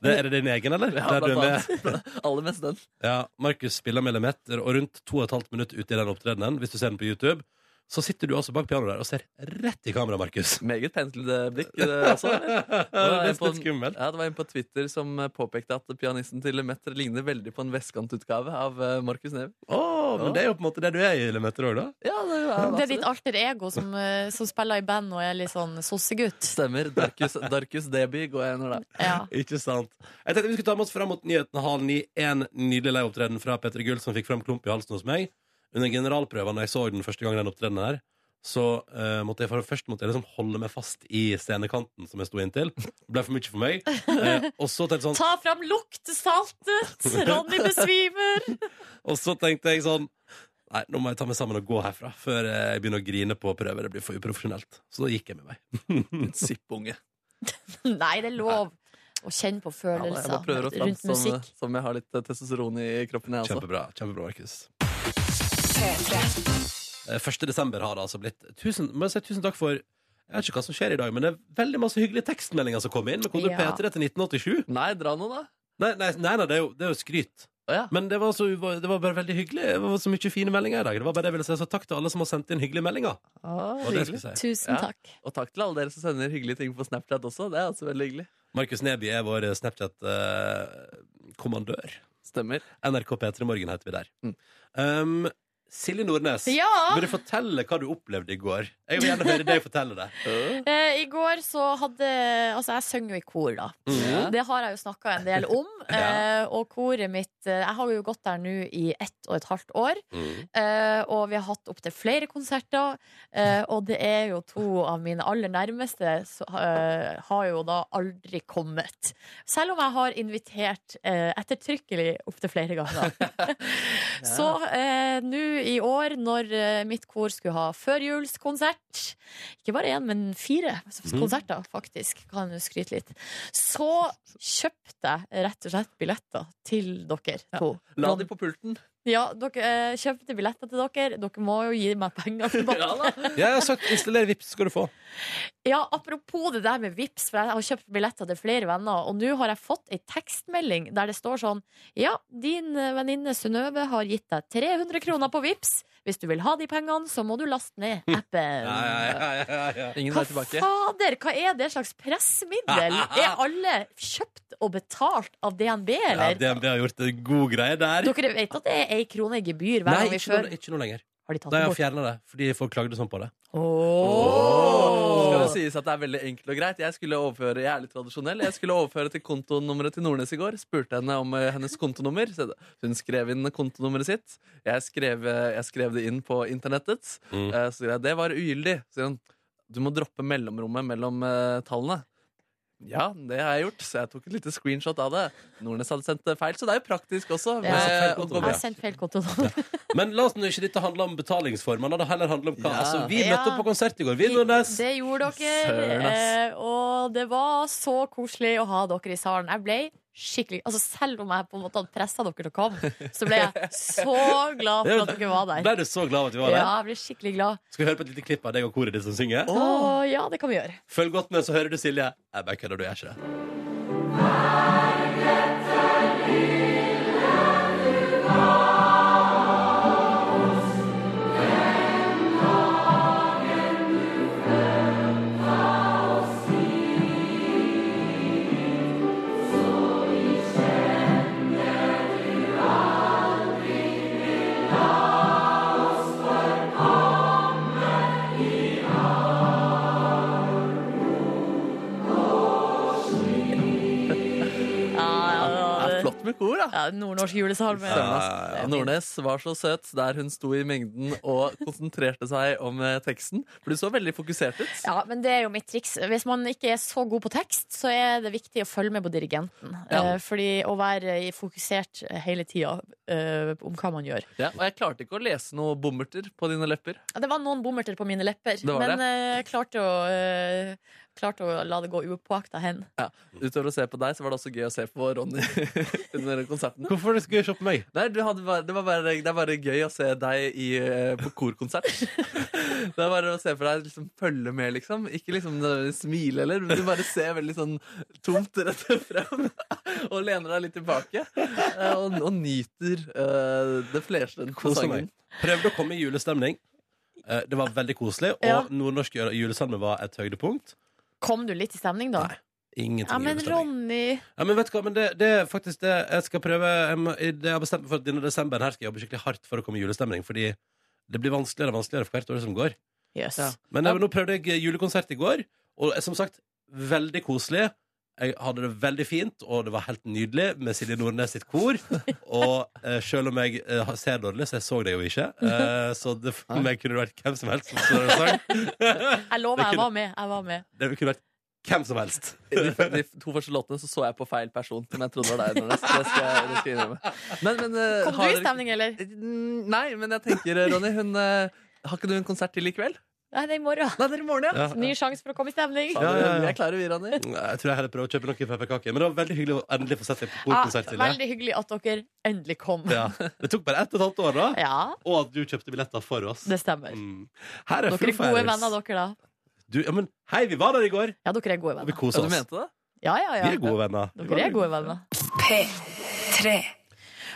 Det- Er det din egen, eller?
Ja,
Der du er
blant
med?
annet. <laughs> Aller mest den.
Ja, Markus spiller med elementer, og rundt to og et halvt minutt ute i den opptredenen, hvis du ser den på YouTube, så sitter du altså bak pianoet der og ser rett i kamera, Markus.
Meget penslede blikk eh,
<laughs>
også. eller?
Det
Det var
er
en på-
litt skummelt.
Ja, det var en på Twitter som eh, påpekte at pianisten til Lemaitre ligner veldig på en vestkantutgave av eh, Markus Neby.
Å, men det er jo på en måte det du er i elementer òg, da.
Ja, det,
Det er ditt alter ego som, eh, som spiller i band og er litt sånn sossegutt.
Stemmer. Darkus, Darkus Deby går jeg under der.
Ikke sant. Jeg tenkte vi skulle ta med oss fram mot nyhetene halv ni. En nydelig liveopptreden fra Petter Gull som fikk fram klump i halsen hos meg. Under generalprøven da jeg så den første gang den opptredenen her, så eh, måtte jeg for, først måtte jeg liksom holde meg fast i scenekanten som jeg sto inntil. Det ble for mye for meg. Eh, og så tenkte jeg sånn
Ta fram
<laughs>
luktesaltet! Ronny besvimer!
Og så tenkte jeg sånn Nei, nå må jeg ta meg sammen og gå herfra før eh, jeg begynner å grine på prøver. Det blir for uprofesjonelt. Så da gikk jeg med meg.
Sippunge.
Nei, det er lov å kjenne på
Ja, da, jeg
<laughs> følelser
bare prøver å
rundt
framstå som,
musikk.
som jeg har litt eh, testosteron i kroppen. Jeg, altså.
Kjempebra, kjempebra, Markus. Eh, 1. desember har det altså blitt. Tusen, må jeg si tusen takk for Jeg vet ikke hva som skjer i dag, men det er veldig masse hyggelige tekstmeldinger som kom inn. Med kode
Ja.
P3 til 1987.
Nei, dra nå, da.
Nei, nei, nei, nei det, er jo, det er jo skryt. Men det var, så, det var bare veldig hyggelig. Det var så mye fine meldinger i dag. Det var bare det jeg ville si. Så takk til alle som har sendt inn hyggelige meldinger.
Ah,
Og det skal jeg si. Tusen takk.
Og takk til alle dere som sender hyggelige ting på Snapchat også. Det er altså veldig hyggelig.
Markus Neby er vår Snapchat-kommandør.
Stemmer.
NRK P3 Morgen heter vi der. Um, Silje Nordnes,
Ja!
vil du fortelle hva du opplevde i går? Jeg vil gjerne høre deg fortelle det.
Eh, I går så hadde Altså, jeg synger jo i kor, da.
Mhm.
Det har jeg jo snakka en del
<laughs>
om. eh, og koret mitt eh, Jeg har jo gått der nå i ett og et halvt år.
Mm.
Eh, og vi har hatt opptil flere konserter. eh, og det er jo to av mine aller nærmeste så, eh, har jo da aldri kommet. Selv om jeg har invitert eh, ettertrykkelig opptil flere ganger. <laughs> Så eh, nå i år, når eh, mitt kor skulle ha førjulskonsert Ikke bare én, men fire
Mhm.
konserter, faktisk. Kan jo skryte litt. Så kjøpte jeg rett og slett billetter til dere to.
La de på pulten.
Ja, dere eh, kjøpte billetter til dere. Dere må jo gi meg
<laughs>
penger tilbake. ja,
Jeg har sagt installer Vipps, skal du få.
apropos det der med Vips, for jeg har kjøpt billetter til flere venner, og nå har jeg fått ei tekstmelding der det står sånn Ja, din eh, venninne Synnøve har gitt deg 300 kroner på Vips. Hvis du vil ha de pengene, så må du laste
<laughs>
ned appen.
Ingen
Hva
vei tilbake.
Fader, hva er det slags
<laughs>
pressmiddel? Er alle kjøpt og betalt av DNB,
Ja,
eller?
DNB har gjort en god greie der.
Dere vet at det er ei krone i gebyr hver
Nei,
gang vi
ikke noe,
kjører?
ikke noe lenger.
Har de tatt
Nei,
det
jeg
bort?
har fjerna det, fordi folk klagde sånn på det.
Skal det sies at det er veldig enkelt og greit. Jeg skulle overføre, jeg er litt tradisjonell Jeg skulle overføre til kontonummeret til Nordnes i går. Spurte henne om eh, hennes kontonummer. Så Hun skrev inn kontonummeret sitt. Jeg skrev, eh, jeg skrev det inn på internettet.
Mm.
Eh, Så skrev jeg det var ugyldig. Så sier hun du må droppe mellomrommet mellom eh, tallene. Ja, det har jeg gjort, så jeg tok et lite screenshot av det. Nordnes hadde sendt det feil, så det er jo praktisk også.
Ja. Altså,
med å gå
Jeg
bra.
har sendt feil konto.
Men la oss nå ikke dette handle om betalingsformer. La det heller handle om hva.
Ja.
Altså, vi
Ja.
møtte opp på konsert i går. Vi, Nordnes.
Det gjorde
Søren,
dere,
ass.
eh, og det var så koselig å ha dere i salen. Jeg ble skikkelig Altså Selv om jeg på en måte hadde pressa dere til å komme, så ble jeg så glad for at dere var der.
Ble du så glad av at vi var
Ja,
der?
jeg ble skikkelig glad.
Skal vi høre på et lite klipp av deg og koret ditt som synger?
Å, ja, det kan vi gjøre.
Følg godt med, så hører du Silje. Jeg bare kødder, du gjør ikke det.
Kjenner du aldri
Sterke ord, da.
Ja, Nordnorsk julesalme.
Stemmer, ass. Nordnes var så søt der hun sto i mengden og konsentrerte seg om eh, teksten. For du så veldig fokusert ut.
Ja, men det er jo mitt triks. Hvis man ikke er så god på tekst, så er det viktig å følge med på dirigenten.
Ja.
Eh, Fordi å være i- fokusert hele tida eh, om hva man gjør.
Ja, og jeg klarte ikke å lese noe bommerter på dine lepper.
Ja, Det var noen bommerter på mine lepper,
var
men
det.
eh, jeg klarte å, eh, klarte å la det gå upåakta hen.
Ja. Utover å se på deg, så var det også gøy å se på Ronny <laughs> under konserten.
Hvorfor er det så gøy å se på meg?
Nei, du hadde bare, det, var bare, det er bare gøy å se deg i, eh, på
<laughs>
korkonsert. det er bare å se for deg, liksom, følge med, liksom. Ikke liksom nødvendigvis smile, eller. Men du bare ser veldig sånn tomt rett frem og lener deg litt tilbake. eh, Og, og nyter eh, det fleste på
Koser meg.
sangen.
Prøvde å komme i julestemning. Eh, Det var veldig koselig, og
Ja.
nordnorsk julesalme var et høydepunkt.
Kom du litt i stemning, da?
Ingenting
Ja, men
julestemning.
Ronny
Ja, men vet du hva, men det, det er faktisk det jeg skal prøve jeg, må, jeg har bestemt meg for at denne desemberen her skal jeg jobbe skikkelig hardt for å komme i julestemning, fordi det blir vanskeligere og vanskeligere for hvert år som går.
Yes.
Ja.
Men jeg, nå prøvde jeg eh, julekonsert i går, og jeg- som sagt, veldig koselig. Jeg hadde det veldig fint, og det var helt nydelig med Silje Nordnes sitt
<laughs>
kor. Og eh, selv om jeg eh, ser dårlig, så jeg så det jo ikke, eh, så det, for meg kunne det vært hvem som helst som står og sang.
Jeg lover,
Det
jeg
kunne-
var med. Jeg var med.
Det kunne vært hvem som helst.
de, de to første låtene så så jeg på feil person, men jeg trodde det var deg. Nordnes. Det skal jeg, det skal jeg innrømme. Men, men, eh,
Kom
har
du i
dere- Eh,
stemning, eller?
Nei, men jeg tenker, Ronny, hun, eh, har ikke du en konsert til i kveld?
Nei, det er i morgen.
Nei, det er i morgen,
ja. Ja.
Ny sjanse for å komme i stemning.
Ja, ja, ja.
Jeg klarer vi, Ronny.
Jeg tror jeg heller prøver å kjøpe noen pepperkaker. Men det var veldig hyggelig å endelig få sett deg på korkonsert.
Ja,
Silje.
veldig hyggelig at dere endelig kom.
<laughs>
Ja. Det tok bare ett og et halvt år, da.
Ja.
Og at du kjøpte billetter for oss.
Det stemmer.
Mm. Her er
Dere er
Foo
gode
Fighters.
venner, dere, da.
Du, ja, men hei, vi var der i går.
Ja, dere er gode
Og vi
venner.
kosa oss.
det?
Ja, ja, ja.
Vi er gode venner.
Dere er gode venner.
P3.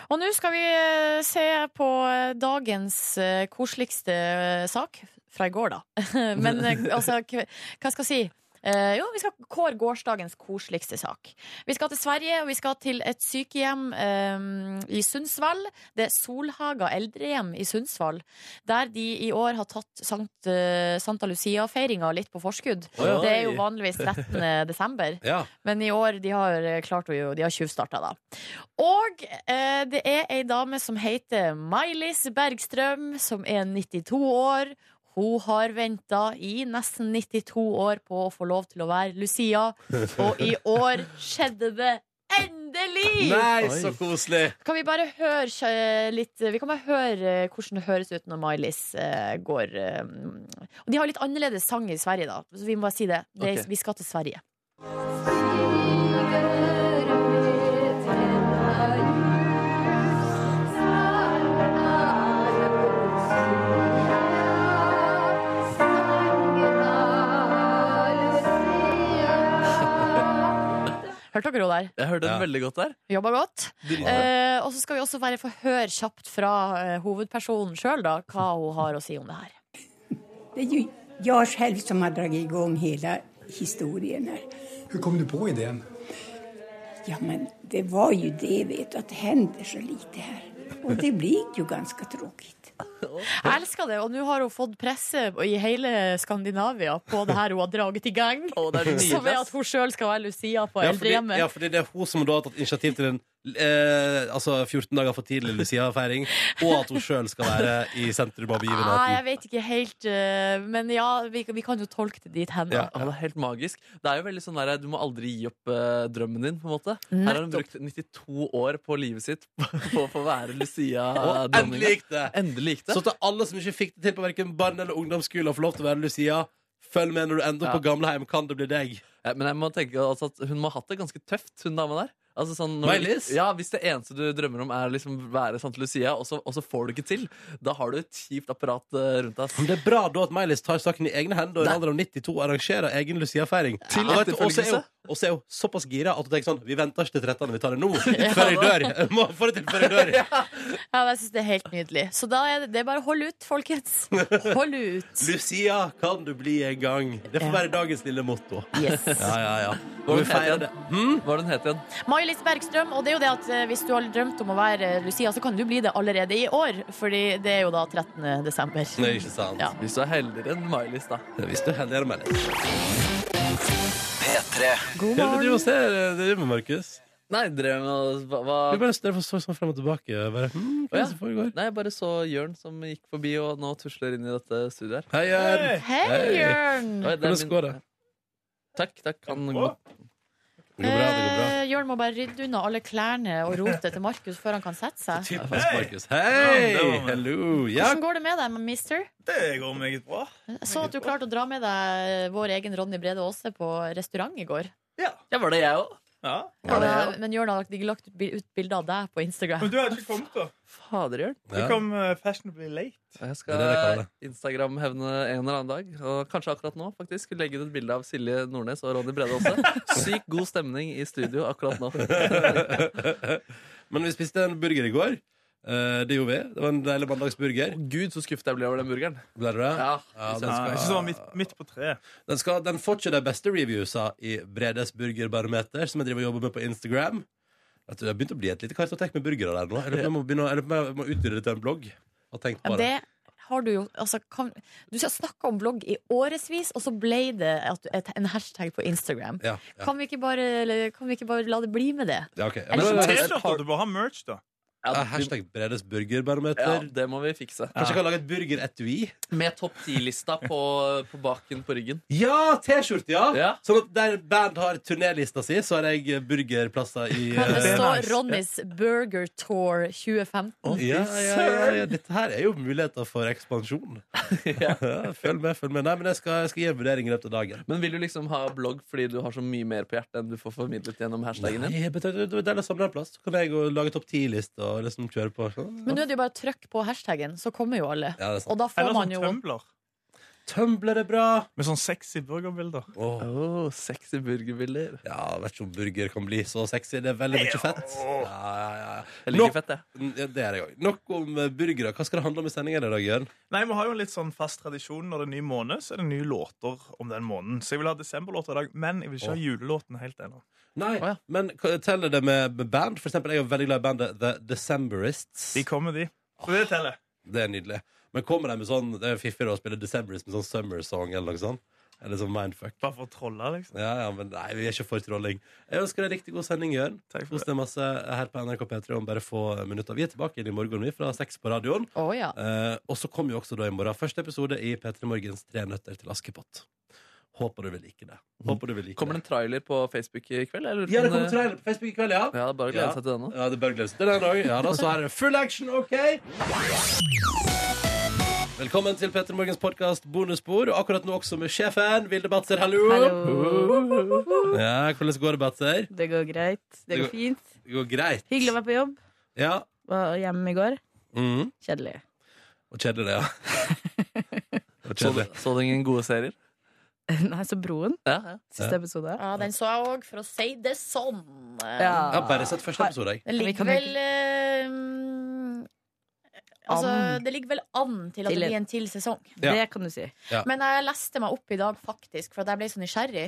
Og nå skal vi eh, se på eh, dagens eh, koseligste eh, sak fra i går, da. <laughs> Men
<laughs>
eh, altså, k- hva skal jeg si? Eh, jo, vi skal kåre gårsdagens koseligste sak. Vi skal til Sverige, og vi skal til et sykehjem eh, i Sundsvall. Det er Solhaga eldrehjem i Sundsvall, der de i år har tatt Sankt, eh, Santa Lucia-feiringa litt på forskudd.
Oi.
Det er jo vanligvis 13. desember.
Ja.
Men i år de har eh, klart å jo- De har tjuvstarta, da. Og eh, det er ei dame som heter Mailis Bergstrøm, som er 92 år. Hun har venta i nesten 92 år på å få lov til å være Lucia, og i år skjedde det endelig!
Nei, så koselig!
Kan vi bare høre kjø- litt Vi kan bare høre eh, hvordan det høres ut når Mailis eh, går eh, Og de har litt annerledes sang i Sverige, da. Så vi må bare si det. det
Ok.
Vi skal til Sverige. Hørte dere henne der?
Jeg hørte den veldig godt der.
Jobba godt. Eh, og så skal vi også bare få høre kjapt fra eh, hovedpersonen sjøl, da, hva hun har å si om det her.
Det är ju jag själv som har dragit igång hela historien här.
Hur kom du på idén?
Ja, men det var ju det, vet du, att det händer så lite här. Och det blir ju ganska tråkigt.
Jeg elsker det, og nå har hun fått presse i hele Skandinavia på det her hun har draget i gang.
det <laughs> er nydelig,
som er
ass.
at hun sjøl skal være Lucia på
Ja, fordi,
eldrehjemmet.
ja, fordi det er hun som da har tatt initiativ til en eh, altså 14 dager for tidlig Lucia-feiring, og at hun sjøl skal være i sentrum av
Nei, Ah, jeg
begivenheten.
vet ikke helt, eh, men ja, vi, vi kan jo tolke det dit hen.
Ja,
da.
ja, det er helt magisk. Det er jo veldig sånn der, Du må aldri gi opp eh, drømmen din. på en måte Her
Mm.
har hun brukt 92 år på livet sitt <laughs> på å få være Lucia.
Og
Ah, dronninga.
endelig gikk det!
Endelig gikk det.
Så til alle som ikke fikk det til på hverken barne- eller ungdomsskole, og får lov til å være Lucia, følg med når du ender opp
Ja.
på gamlehjem. Kan det bli deg?
Ja, men jeg må tenke altså, at hun må ha hatt det ganske tøft, hun dama der. Altså, sånn,
Maj-Lis?
ja, Hvis det eneste du drømmer om, er liksom være Santa Lucia, og så, og så får du ikke til, da har du et kjipt apparat eh, rundt deg.
Men det er bra da at Meilis tar saken i egne hender og i en alder av 92 arrangerer egen Lucia-feiring.
Til
Og vet du, også er
etterfølgelse.
jo- Også er hun såpass gira at hun tenker sånn Vi venter ikke til 13., vi tar det
<laughs>
nå. Før jeg dør. Jeg Må få det til før jeg dør.
Ja, jeg syns det er helt nydelig. Så da er det, det er bare hold ut, folkens. Hold ut.
Lucia kan du bli en gang. Det får
Ja.
være dagens lille motto.
Yes.
Ja, ja, ja.
Hva
Og vi
het
feirer det.
den?
Hm?
Hva er det den het igjen?
Maj-Lis Bergstrøm, og det er jo det at eh, hvis du har drømt om å være eh, Lucia, så kan du bli det allerede i år, fordi det er jo da 13. desember.
Nei, ikke sant.
Ja.
Hvis du er heldigere enn Maj-Lis, da.
Hvis du er heldigere enn Meilis.
God
Hva er det du
morgen.
driver og ser, eh, driver med, Markus?
Nei, drev med hva, hva...
Du bare står og så sånn frem og tilbake. Bare, hm, hva er det som foregår?
Nei, jeg bare så Jørn som gikk forbi og nå tusler inn i dette studioet her.
Hei, Jørn!
Hei, Jørn!
Oi, det er
Hvordan
min-
går det?
Takk, takk. Han går
Det går bra, det går bra.
Eh, Jørn må bare rydde unna alle klærne og rotet til Markus før han kan sette seg.
Det er faktisk Markus. Hei!
Ja, det var meg.
Hallo! Ja,
Hvordan går det med deg, mister?
Det går meget bra.
Jeg så at du klarte å dra med deg vår egen Ronny Brede Aase på restaurant i går.
Ja, var det jeg òg?
Ja.
Ja, men Jørn har ikke lagt ut bil- ut bilde av deg på Instagram.
Men du har ikke kommet, da.
Fader, Jørn.
Du kom eh, fashionably late.
Jeg
Det er det jeg kaller
skal
det.
Instagram-hevne en eller annen dag. Og kanskje akkurat nå faktisk legge ut et bilde av Silje Nordnes og Ronny Brede Aase. Sykt god stemning i studio
<laughs>
akkurat nå.
Men vi spiste en burger i går. Eh, det gjorde vi. Det var en deilig mandagsburger.
Gud, så skuffet jeg ble over den burgeren.
Ble du det?
Ja,
den,
Ja,
skal,
ikke sånn midt, midt på treet.
den, skal, den får ikke de beste reviewsa i Bredes burgerbarometer, som jeg driver og jobber med på Instagram. Jeg tror det har begynt å bli et lite kartotek med burgere der nå. Jeg lurer på om jeg må, begynne, å- jeg lurer på om jeg må utvide det til en blogg. Har tenkt
Ja,
på det.
det har du jo altså, kan, Du har snakka om blogg i årevis, og så ble det at, et, en hashtag på Instagram.
Ja, ja.
Kan, vi ikke bare, eller, kan vi ikke bare la det bli med det?
Ja, ok.
Eller
Men-
så-
T-skjorter. Du bør ha merch, da.
Ja, hashtag Bredes burgerbarometer.
Ja, det må vi fikse.
Kanskje jeg kan lage et burgeretui?
Med topp 10-lista på, på baken på ryggen.
Ja, T-skjorte, ja.
Ja.
Sånn at der band har turnélista si, så har jeg eh, burgerplasser i
Kan det
eh,
stå Ronnys Burger Tour 2015?
ja, ja, ja, ja, dette her er jo muligheter for ekspansjon. følg med, følg med. Nei, men jeg skal, jeg skal gi en vurdering i løpet av dagen.
Men vil du liksom ha blogg fordi du har så mye mer på hjertet enn du får formidlet gjennom hashtagen din?
Nei, jeg betyr- det er deilig å samle en plass. Så kan jeg gå og lage topp ti-liste og liksom kjøre på.
Men nå er det jo bare å trykke på hashtagen, så kommer jo alle.
Ja, det er sant.
Og da får
Eller
man
sånn
jo
Tumblr.
Tumbler er bra.
Med sånn sexy burgerbilder.
Åh,
Oh, sexy burgerbilder.
ja, vet ikke om burger kan bli så sexy. Det er veldig mye fett. Ja, ja, ja.
Jeg liker
Nok-
fett, jeg.
Ja, det er det òg. Nok om eh, burgere. Hva skal det handle om i sendingen i dag, Jørn?
Nei, Vi har jo en litt sånn fast tradisjon når det er ny måned, så er det nye låter om den måneden. Så jeg vil ha desemberlåter i dag, men jeg vil ikke ha julelåten helt ennå.
Nei, men k- teller det med med band? For eksempel, jeg er veldig glad i bandet The Decemberists.
De kommer, de. Så det teller.
Det er nydelig. Men kommer de med sånn Det er jo fiffig da å spille Decemberists med sånn Summer Song eller noe sånt? Eller sånn Mindfuck.
Bare for å trolle, liksom.
Ja, ja, men nei, vi er ikke for trolling. Jeg ønsker deg riktig god sending, Jørn. Kos deg masse her på NRK P3 om bare få minutter. Vi er tilbake igjen i morgen, vi, fra seks på radioen.
Å, ja.
Eh, og så kommer jo også da i morgen første episode i P3 Morgens Tre nøtter til Askepott. Håper du vil like det. Håper du vil like
Kommer det en trailer på Facebook i kveld? Eller?
Ja, det kommer trailer på Facebook i kveld, ja.
Ja, det er bare å glede seg til den nå.
Ja, det bør gledes til den også. Ja, da, så er det full action, OK? Velkommen til Petter Morgens podkast Bonusbord. Og akkurat nå også med sjefen, Vilde Batzer. Hallo! Ja, Hvordan går det, Batzer?
Det går greit. Det
Det
går
går-
fint.
Det går greit.
Hyggelig å være på jobb.
Ja.
Var hjemme i går.
Mhm.
Kjedelig. <laughs>
Og kjedelig, det, ja. Og kjedelig.
Så du ingen gode serier?
Nei, så Broen. Siste
Ja.
episode.
Ja, den så jeg òg, for å si det sånn.
Ja.
Jeg har bare sett første episode, jeg.
Den
Vi
ligger
kan
vel eh, mm, Altså,
An.
det ligger vel an til at
Til
det
en-
blir en til sesong.
Ja. Det kan du si.
Ja.
Men jeg leste meg opp i dag, faktisk, for at jeg ble så nysgjerrig.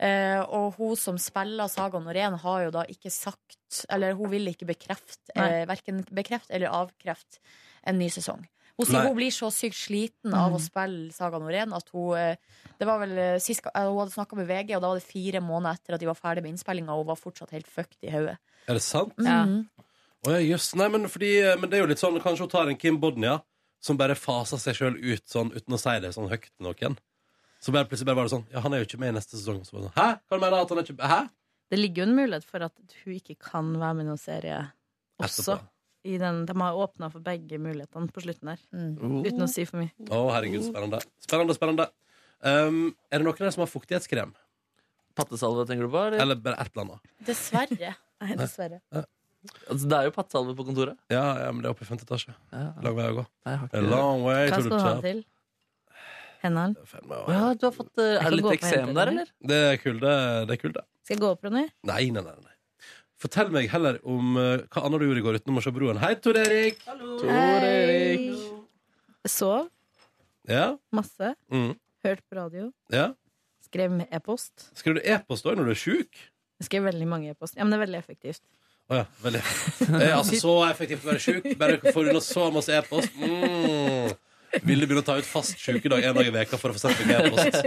Eh, og hun som spiller Saga Norén, har jo da ikke sagt Eller hun vil ikke bekrefte, uh, verken bekrefte eller avkrefte, en ny sesong. Hun sier
Nei.
hun blir så sykt sliten av å
Mm.
spille Saga Norén at hun eh, Det var vel eh, sist ga- eh, Hun hadde snakka med VG, og da var det fire måneder etter at de var ferdig med innspillinga, og hun var fortsatt helt fucked i hodet.
Er det sant?
Mhm.
Mm.
Å ja, jøss. Nei, men, fordi, men det er jo litt sånn Kanskje hun tar en Kim Bodnia som bare faser seg sjøl ut sånn uten å si det sånn høyt til noen. Så bare plutselig bare var det sånn Ja, han er jo ikke med i neste sesong. Så bare sånn, Hæ? Hva mener du at han er ikke Hæ?
Det ligger jo en mulighet for at hun ikke kan være med i noen serie også.
Etterpå.
I den, de har åpna for begge mulighetene på slutten her.
Mm.
Uten å si for mye.
Å, herregud, spennende. Spennende, spennende. Um, er det noen av dere som har fuktighetskrem?
Pattesalve, tenker du på?
Mm.
Eller,
eller bare et eller annet?
Dessverre. <laughs>
Nei, dessverre.
Altså, det er jo pattesalve på kontoret.
Ja, ja, men det er oppe i femte etasje. Lang vei å gå.
Nei, jeg har
A
ikke det.
long way
Hva
to
skal
the
du ha
top.
til? Hendene?
Ja,
du har fått, eh,
Jeg
er det
kan gå
litt
opp og hente
eksem der,
den.
eller?
Det er kulde. Det er kulde.
Skal jeg gå opp, Ronny?
Nei, nei, nei. nei. Fortell meg heller om eh, hva annet du gjorde i går utenom å se Broen. Hei, Tor Erik! Tor Erik.
Sov
Ja?
masse.
Mm.
Hørt på radio.
ja.
Skrev med e-post.
Skriver du e-post også når du er sjuk?
Jeg skrev veldig mange e-post. Ja, men det er veldig effektivt.
Å ja, <laughs> veldig. Eh, altså, så effektivt å være sjuk. Bare får unna så masse e-post. Mm. Ville begynne å ta ut fast sjukedag en dag i veka for å få sendt meg e-post.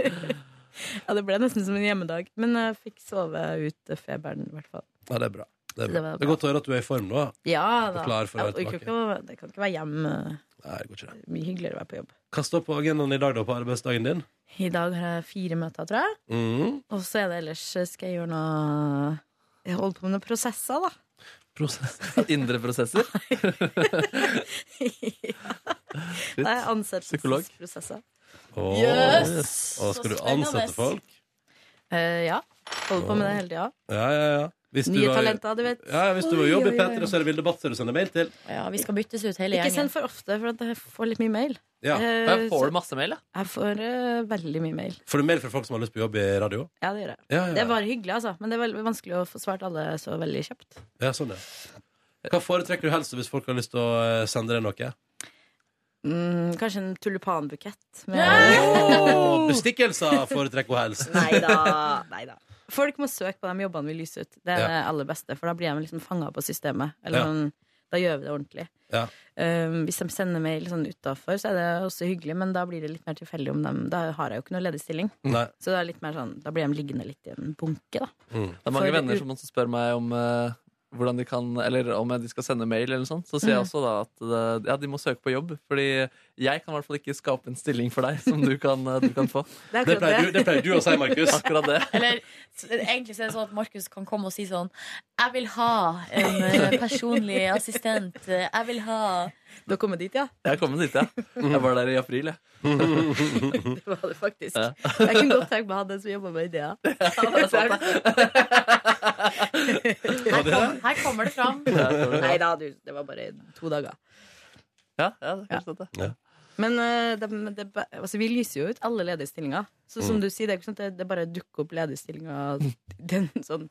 Ja, det ble nesten som en hjemmedag. Men jeg fikk sove eh, ut feberen, i hvert fall.
Ja, det er bra. Det er,
Så
bra.
det var
det er godt å høre at du er i form, da.
Ja
Og
da.
klar for å
Ja,
være
det, kan
tilbake.
ikke være, det kan ikke være hjem. eh,
Nei, det går ikke det.
Mye hyggeligere å være på jobb.
Hva står på agendaen i dag, da, på arbeidsdagen din?
I dag har jeg fire møter, tror jeg.
Mhm.
Og så er det ellers eh, skal jeg gjøre noe Jeg holder på med noen prosesser, da.
<laughs> Indre prosesser.
Det er
Psykolog.
ansettelsesprosesser.
Åh.
Yes!
Åh, skal du
Så
ansette
spennende.
folk?
Eh, ja. Holder på med det hele tida.
Ja, ja, ja. Hvis
Nye talenter, du vet.
Ja, ja, hvis du var i
Oi,
jobb i
oi, oi.
P3, så er det Vilde Batzer du sender mail til.
Ja, vi skal byttes ut hele
Ikke
gjengen.
send for ofte, for at jeg får litt mye mail.
Ja.
Eh, Jeg får så-
masse mail, da?
Jeg får eh, veldig mye mail.
Får du mail fra folk som har lyst på jobb i radio?
Ja, det gjør jeg.
Ja, ja, ja.
Det er bare hyggelig, altså. Men det er veldig vanskelig å få svart alle så veldig kjapt.
Ja, sånn, ja. Hva foretrekker du helst hvis folk har lyst til å eh, sende deg noe?
Mm, kanskje en tulipanbukett. Med...
Åh, bestikkelser foretrekker hun
<laughs>
helst.
Nei da. Nei da. Folk må søke på de jobbene vi lyser ut. Det er
Ja.
det aller beste, for da blir de liksom fanga på systemet. Eller
Ja.
sånn, da gjør vi det ordentlig.
Ja.
Um, hvis de sender mail sånn utafor, så er det også hyggelig, men da blir det litt mer tilfeldig om dem. Da har jeg jo ikke noe ledig stilling.
Nei.
Så det er litt mer sånn, da blir de liggende litt i en bunke, da.
Det er mange
For-
venner som også spør meg om eh, hvordan de kan, eller om de skal sende mail. eller noe sånt, Så sier jeg
Mhm.
også da at eh, ja, de må søke på jobb. Fordi jeg kan i hvert fall ikke skape en stilling for deg som du kan, eh, du kan få.
Det er akkurat Det pleier det. du- det pleier du å si, Markus.
Akkurat det.
Eller s- egentlig så er det sånn at Markus kan komme og si sånn Jeg vil ha en
<laughs>
eh, personlig assistent. Jeg vil ha
Du har kommet dit, ja?
Jeg er kommet dit, jeg. Jeg var der i april, jeg.
<laughs> Det var det faktisk.
Ja.
<laughs> Jeg kunne godt tenke meg å ha den som jobba med ideer.
Her, kom, her kommer det fram.
<laughs> Nei da, du. Det var bare to dager.
Ja, ja, det er kanskje dette.
Men eh, det, men det, altså, vi lyser jo ut alle ledige stillinger. Så som
Mm.
du sier, det er ikke sånn at det, det bare dukker opp ledige stillinger den, sånn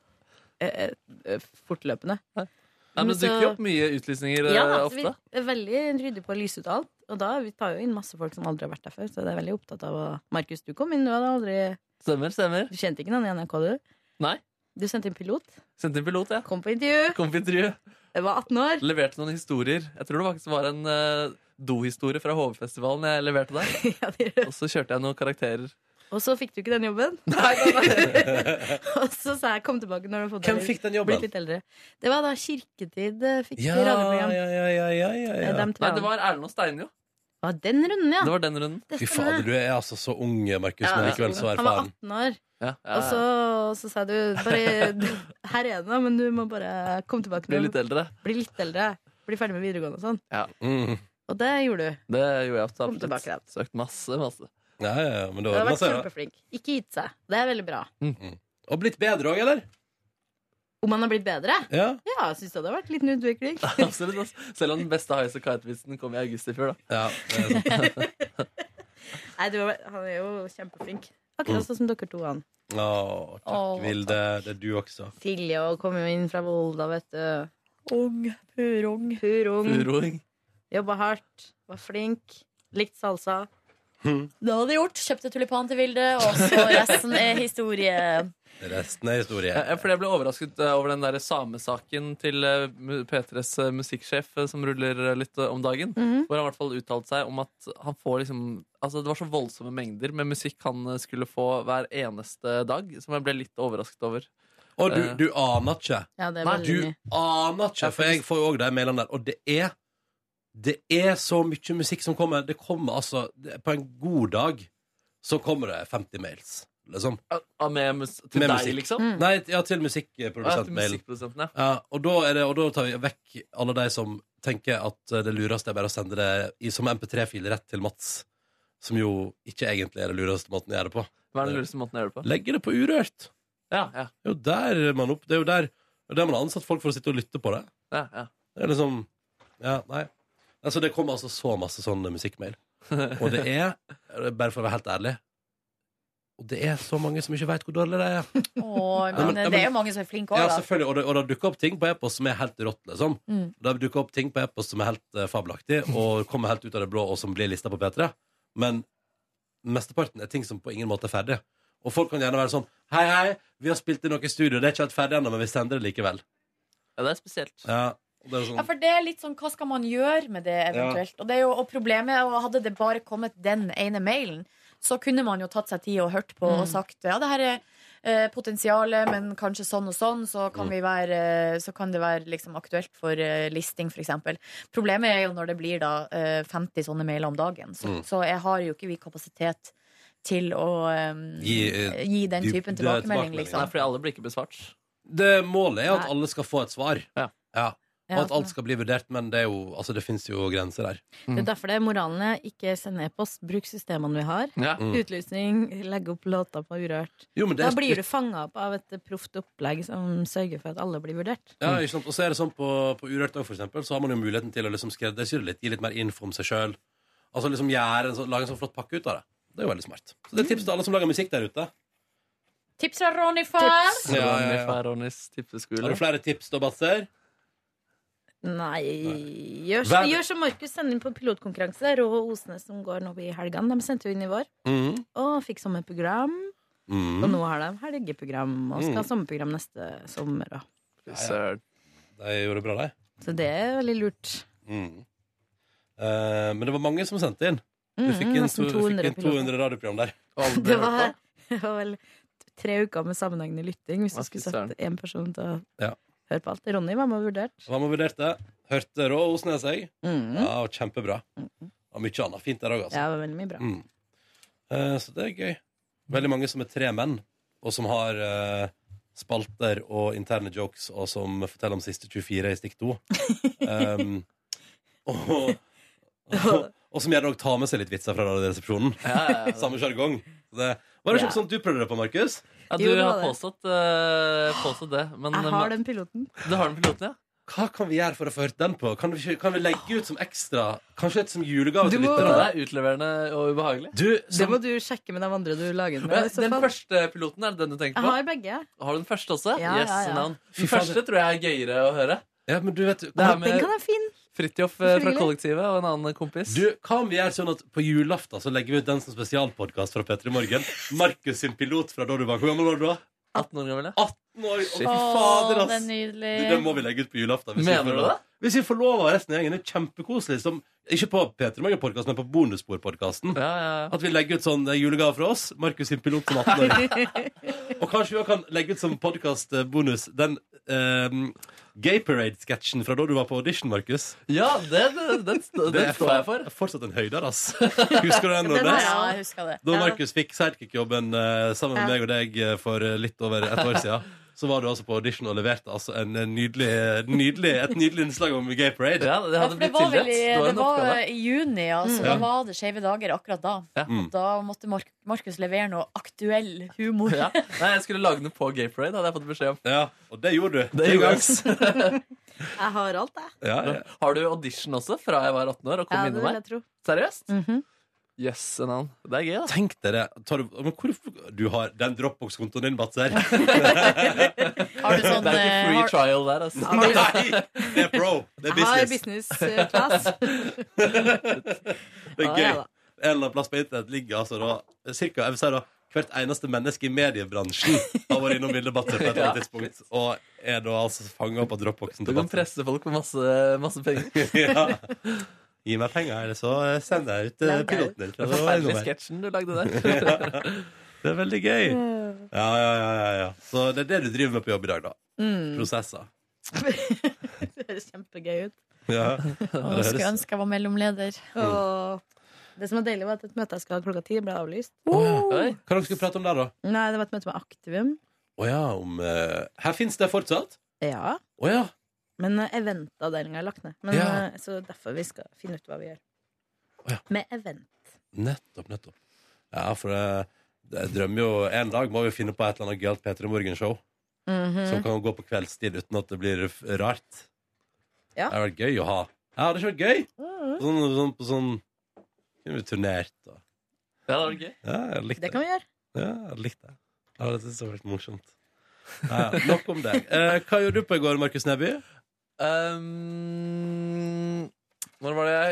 eh, eh, fortløpende.
Nei, men
Men
det
så-
dukker jo opp mye utlysninger eh,
Ja, da, så vi
ofte.
er veldig ryddig på å lyse ut alt. Og da vi tar jo inn masse folk som aldri har vært der før. Så det er veldig opptatt av å Markus, du kom inn, du hadde aldri
Stemmer, stemmer.
Du kjente ikke noen i NRK, du?
Nei.
Du sendte inn pilot.
Sendte inn pilot, ja.
Kom på intervju.
Kom på intervju.
Jeg var 18 <laughs> år.
Leverte noen historier. Jeg tror det faktisk var en eh, dohistorie fra HV-festivalen jeg leverte der. Og så kjørte jeg noen karakterer.
Og så fikk du ikke den
<laughs>
jobben. <laughs> og så sa jeg 'kom tilbake når du har fått
Hvem
deg-
fikk den jobben?
Blitt litt eldre. Det var da Kirketid eh, fikk
Ja,
radioprogram.
ja, ja, ja, ja, ja,
Det er dem tre
Nei, det var Erlend og Steine, jo.
Var den runden, ja.
Det var den runden.
Det
Fy
stemmer.
fader, du er altså så ung, Markus,
Ja,
men
ja.
likevel så
Han var
erfaren.
18 år.
Ja,
Og så, og så sa du bare <laughs> 'her er det nå, men du må bare komme tilbake
Bli
når du-
litt eldre.
Bli litt eldre. Bli ferdig med videregående og sånn.
Ja.
Mm.
Og det gjorde du.
Det gjorde jeg absolutt.
tilbake da.
Søkt masse, masse. <laughs>
Ja, ja, ja, men
Du
det
har
ordner
vært
seg, da.
kjempeflink. Ikke gitt seg. Det er veldig bra.
Mhm. Og blitt bedre òg, eller?
Om han har blitt bedre?
Ja.
Ja, jeg syns det hadde vært en liten utvikling.
<laughs>
Absolutt, ass. Selv om den beste Highasakite Kite-vitsen kom i august i fjor,
da.
<laughs> Nei, du, har- han er jo kjempeflink.
Mm.
Akkurat sånn som dere to, han.
Å, takk,
Å,
Vilde. Det er du også.
Silje og kom jo inn fra Volda, vet du. Ung. Purung.
Mm.
Purung.
Furoing.
Jobba hardt. Var flink. Likte salsa.
Hmm.
Det hadde jeg gjort. Kjøpte tulipan til Vilde, og så resten er historie.
Resten er historie.
Ja, for jeg ble overrasket eh, over den der samesaken til eh, mu- P3s eh, musikksjef eh, som ruller eh, litt eh, om dagen.
Mhm.
Hvor han i hvert fall uttalte seg om at han får liksom Altså det var så voldsomme mengder med musikk han eh, skulle få hver eneste dag, som jeg ble litt overrasket over.
Og du, du aner ikke.
Ja, det er
Nei,
veldig
du
mye.
aner ikke, for jeg får jo òg de mailene der. Og det er Det er så mye musikk som kommer. Det kommer altså det- På en god dag så kommer det 50 mails, liksom.
Eh, Med, mus til deg, liksom?
Nei, ja, til
Ja, til
musikkprodusentmailen.
musikkprodusenten, ja.
Ja, og, da er det, og da tar vi vekk alle de som tenker at eh, det lureste er bare å sende det i, som MP3-fil rett til Mats. Som jo ikke egentlig er den lureste måten å gjøre det på.
Hva er den lureste måten å gjøre det på?
Legge det på urørt.
Ja, ja.
Det er jo der man opp, det er jo der, det er der man har ansatt folk for å sitte og lytte på det.
Ja, ja.
Det er liksom Ja, nei. Altså, det kommer altså så masse sånn musikkmail. Og det er, bare for å være helt ærlig Og det er så mange som ikke veit hvor dårlig det er.
Åh,
Nei, men-
men,
ja, men-
det er jo mange som er flinke
Ja,
òg, da.
selvfølgelig, og det, og det dukker opp ting på e-post som er helt rått, liksom.
Mm.
Det dukker opp ting på e-post som er helt eh, fabelaktig, og kommer helt ut av det blå, og som blir lista på P3. Men mesteparten er ting som på ingen måte er ferdig. Og folk kan gjerne være sånn Hei, hei, vi har spilt inn noe i studio, det er ikke helt ferdig ennå, men vi sender det likevel.
Ja, det er spesielt.
Ja, og det er sånn,
Ja, for det er litt sånn, Hva skal man gjøre med det eventuelt? Og, det er jo, og problemet er jo, Hadde det bare kommet den ene mailen, så kunne man jo tatt seg tid og hørt på
Mm.
og sagt ja, det her er eh, potensialet, men kanskje sånn og sånn, så
Mm.
kan, vi være, eh, så kan det være liksom, aktuelt for eh, listing, f.eks. Problemet er jo når det blir da, eh, 50 sånne mailer om dagen. Så,
Mm.
så jeg har jo ikke vi kapasitet til å eh,
Gi, eh,
gi den
dyp-
typen
det er
tilbakemelding,
tilbakemelding.
liksom.
Nei,
Fordi alle blir ikke besvart.
Det målet er at alle skal få et svar.
Ja.
Og at alt skal bli vurdert, men det, er jo, altså, det fins jo grenser der.
Det er derfor det er moralen er ikke send e-post, bruk systemene vi har.
Ja. Mm.
Utlysning, legge opp låter på Urørt.
Jo, men det er
da blir
litt-
du fanga opp av et proft opplegg som sørger for at alle blir vurdert.
Ja, ikke sant? Og så er det sånn på, på Urørt også, for eksempel, så har man jo muligheten til å liksom skreddersy det litt, gi litt mer info om seg sjøl. Altså liksom gjøre en sånn, lage en sånn flott pakke ut av det. Det er jo veldig smart. Så det er et tips til alle som lager musikk der ute.
Tips fra Ronny Far!
Ja, ja, ja. Har
Har
du flere tips da, Batser?
Nei Gjør,
Vær-
gjør som Markus, send inn på pilotkonkurranse. Det er Rå og Osnes som går nå i helgene. De sendte jo inn i vår
Mhm.
og fikk sommerprogram.
Mhm.
Og nå har de helgeprogram og skal ha
Mhm.
sommerprogram neste sommer. også.
De gjorde det bra, de.
Så det er veldig lurt. <laughs>
Mm. Eh, men det var mange som sendte inn. Du
Mhm,
fikk inn,
nesten
to, du fikk
200
inn 200 radioprogram der.
Det var, det var vel tre uker med sammenhengende lytting hvis du skulle satt én person til å
Ja.
høre på alt. Ronny var med og vurderte.
Så han har vurdert det. Hørte Rå Osnes, jeg. Ja, og kjempebra. Og mye annet fint der òg, altså.
Ja, det var veldig mye bra.
Mm. Eh, så det er gøy. Veldig mange som er tre menn, og som har eh, spalter og interne jokes, og som forteller om siste 24 i stikk 2. Um, og, og, og som gjerne òg tar med seg litt vitser fra Radioresepsjonen.
ja, ja.
Samme sjargong. Så det- Var det ikke sånn du prøvde det på, Markus?
Ja, du
Jo, det var
har
det.
påstått, eh, påstått det. Men eh,
Jeg har den piloten.
Du har den piloten, ja?
Hva kan vi gjøre for å få hørt den på? Kan vi, ikke- kan vi legge ut som ekstra? Kanskje et som julegave til
Det
lytterne?
er utleverende og ubehagelig.
Du,
Det må du sjekke med de andre du lager den med. i så
den
fall.
første piloten, er det den du tenker
Jeg
på?
har begge.
Har du den første også?
Ja,
yes,
ja, ja.
navn.
Fy
Den
faen,
første tror jeg er gøyere å høre.
Ja, men du vet
Det er
Den kan
med
jeg finne.
Fridtjof eh, fra
Frivillig.
Kollektivet og en annen kompis.
Du, hva om vi gjør sånn at på julaften så legger vi ut den som spesialpodkast fra P3 Morgen? Markus sin pilot fra da du var Hvor gammel var du da?
18 år gammel,
ja. 18 år,
Shit.
Å, fy fader, ass!
det er
Du,
nydelig.
den må vi legge ut på julaften. hvis vi
Mener
får
du
lov.
det?
Hvis vi får lov av resten av gjengen. Det er kjempekoselig. Som, ikke på P3 Morgen-podkasten, men på Bonusbord-podkasten. At vi legger ut sånn eh, julegave fra oss. Markus sin pilot som 18 år. <laughs> Og kanskje vi også kan legge ut som podkastbonus den ehm, Gay Parade-sketsjen fra da du var på audition, Markus.
Ja, det, det, den st- den står jeg for.
Det er fortsatt en høyder, ass. <laughs> Husker du den?
Den
Nordnes?
har jeg- jeg husker det.
Da
Ja.
Markus fikk sidekick-jobben eh, sammen med
Ja.
meg og deg eh, for eh, litt over et år siden, <laughs> så var du altså på audition og leverte altså en eh, nydelig, nydelig, et nydelig innslag om Gay Parade.
Ja, det
Ja, for det var vel i, det var i juni, altså,
Mm.
da
Ja.
var det Skeive dager akkurat da.
Ja.
Mm.
Og Da måtte Mark Markus levere noe aktuell humor. <laughs>
Ja. Nei, jeg skulle lage den på Gay Parade, hadde jeg fått beskjed om.
Ja, og det gjorde du.
Det
Til
gjorde
gangs.
jeg.
<laughs>
Jeg har alt, jeg.
Ja, ja.
Har du audition også, fra jeg var 18 år og kom
Ja, det
innom
vil
meg?
jeg tro.
Seriøst?
Mhm.
Yes, en annen. Det er gøy, da.
Tenk dere tar du, men hvorfor, du har den Dropbox-kontoen din, Batser.
du sånn, Det er ikke free eh, har- trial der, altså.
Nei, det er pro. Det er
Jeg har
business. <laughs>
business class.
det er
Ja,
gøy.
ja da.
En eller annen plass på internett ligger altså da cirka, jeg vil si da, hvert eneste menneske i mediebransjen har vært innom Vilde Batser på et eller annet tidspunkt, og er da altså fanga opp av Dropboxen
Du
til
kan
Batser.
presse folk med masse, masse penger.
<laughs> ja. Gi meg penger, eller så eh, sender jeg ut eh, piloten din.
Det er forferdelig sketsjen du lagde der.
Ja. Det er veldig gøy. Ja, ja, ja, ja, ja. Så det er det du driver med på jobb i dag, da.
Mm.
Prosesser.
<laughs> Det høres kjempegøy ut. <laughs>
Ja.
Å,
Det
Skulle
høres-
ønske jeg var mellomleder.
Og det som var deilig, var at et møte jeg skal ha klokka ti, ble avlyst.
Oi. Hva dere skulle prate om der, da?
Nei, det var et møte med Aktivum.
Å ja, om eh, Her fins det fortsatt?
Ja.
Å ja.
Men eh, eventavdelinga er lagt ned. Men,
Ja.
eh, Så derfor vi skal finne ut hva vi gjør. Med event.
Nettopp, nettopp. Ja, for det, jeg drømmer jo En dag må vi jo finne på et eller annet gøyalt Peter i Morgen-show.
Mm.
Mhm.
Som kan gå på kveldstid uten at det blir f- rart.
Ja. Mm.
Det hadde vært gøy å ha. Ja, det hadde ikke vært gøy. Sånn, sånn, på sånn Kunne vi turnert og
Ja, det var gøy.
Ja, jeg hadde likt
Det kan vi gjøre.
Ja, jeg hadde likt det. Jeg hadde syntes det hadde vært morsomt. Ja, ja, nok om deg. Eh, hva gjorde du på i går, Markus Neby?
Um, når var det jeg,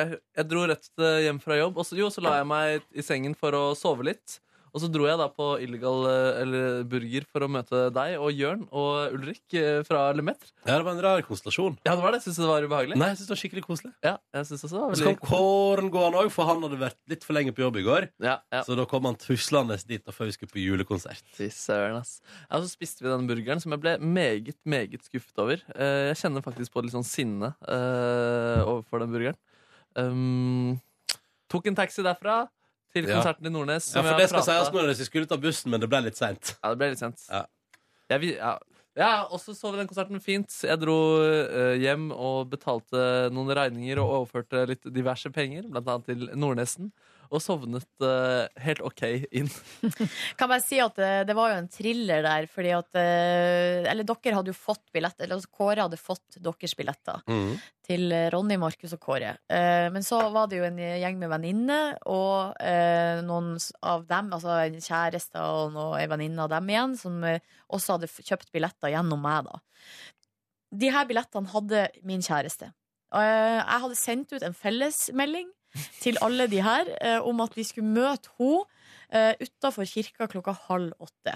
jeg Jeg dro rett eh, hjem fra jobb. Og så, jo, så la jeg meg i sengen for å sove litt. Og så dro jeg da på Illegal eh, eller Burger for å møte deg og Jørn og Ulrik eh, fra Lemaitre.
Ja, det var en rar konstellasjon.
Ja, det var det. Syns du det var ubehagelig?
Nei, jeg synes det var skikkelig koselig.
Ja, jeg synes også det var
Så kom
veldig...
Kåren gående òg, for han hadde vært litt for lenge på jobb i går. Så da kom han tuslende dit og før vi skulle på julekonsert.
Fy søren, ass. Ja, så spiste vi den burgeren som jeg ble meget, meget skuffet over. Eh, Jeg kjenner faktisk på litt sånn sinne eh, overfor den burgeren. Um, tok en taxi derfra til
Ja.
konserten i Nordnes.
Ja,
som
for
jeg
det skal
pratet-
sies nå at vi skulle ta bussen, men det ble litt seint.
Ja, det ble litt sent.
Ja.
Jeg, vi- ja. ja, og så så vi den konserten fint. Jeg dro eh, hjem og betalte noen regninger og overførte litt diverse penger, blant annet til Nordnesen. Og sovnet eh, helt ok inn.
Kan bare si at eh, det var jo en thriller der, fordi at eh, Eller dere hadde jo fått billett, eller altså, Kåre hadde fått deres billetter.
Mhm.
Til eh, Ronny, Markus og Kåre. Eh, Men så var det jo en gjeng med venninner, og eh, noen s- av dem, altså en kjæreste og noe- ei venninne av dem igjen, som eh, også hadde f- kjøpt billetter gjennom meg, da. De her billettene hadde min kjæreste. Og, eh, Jeg hadde sendt ut en fellesmelding til alle de her eh, om at vi skulle møte henne utafor kirka klokka halv åtte.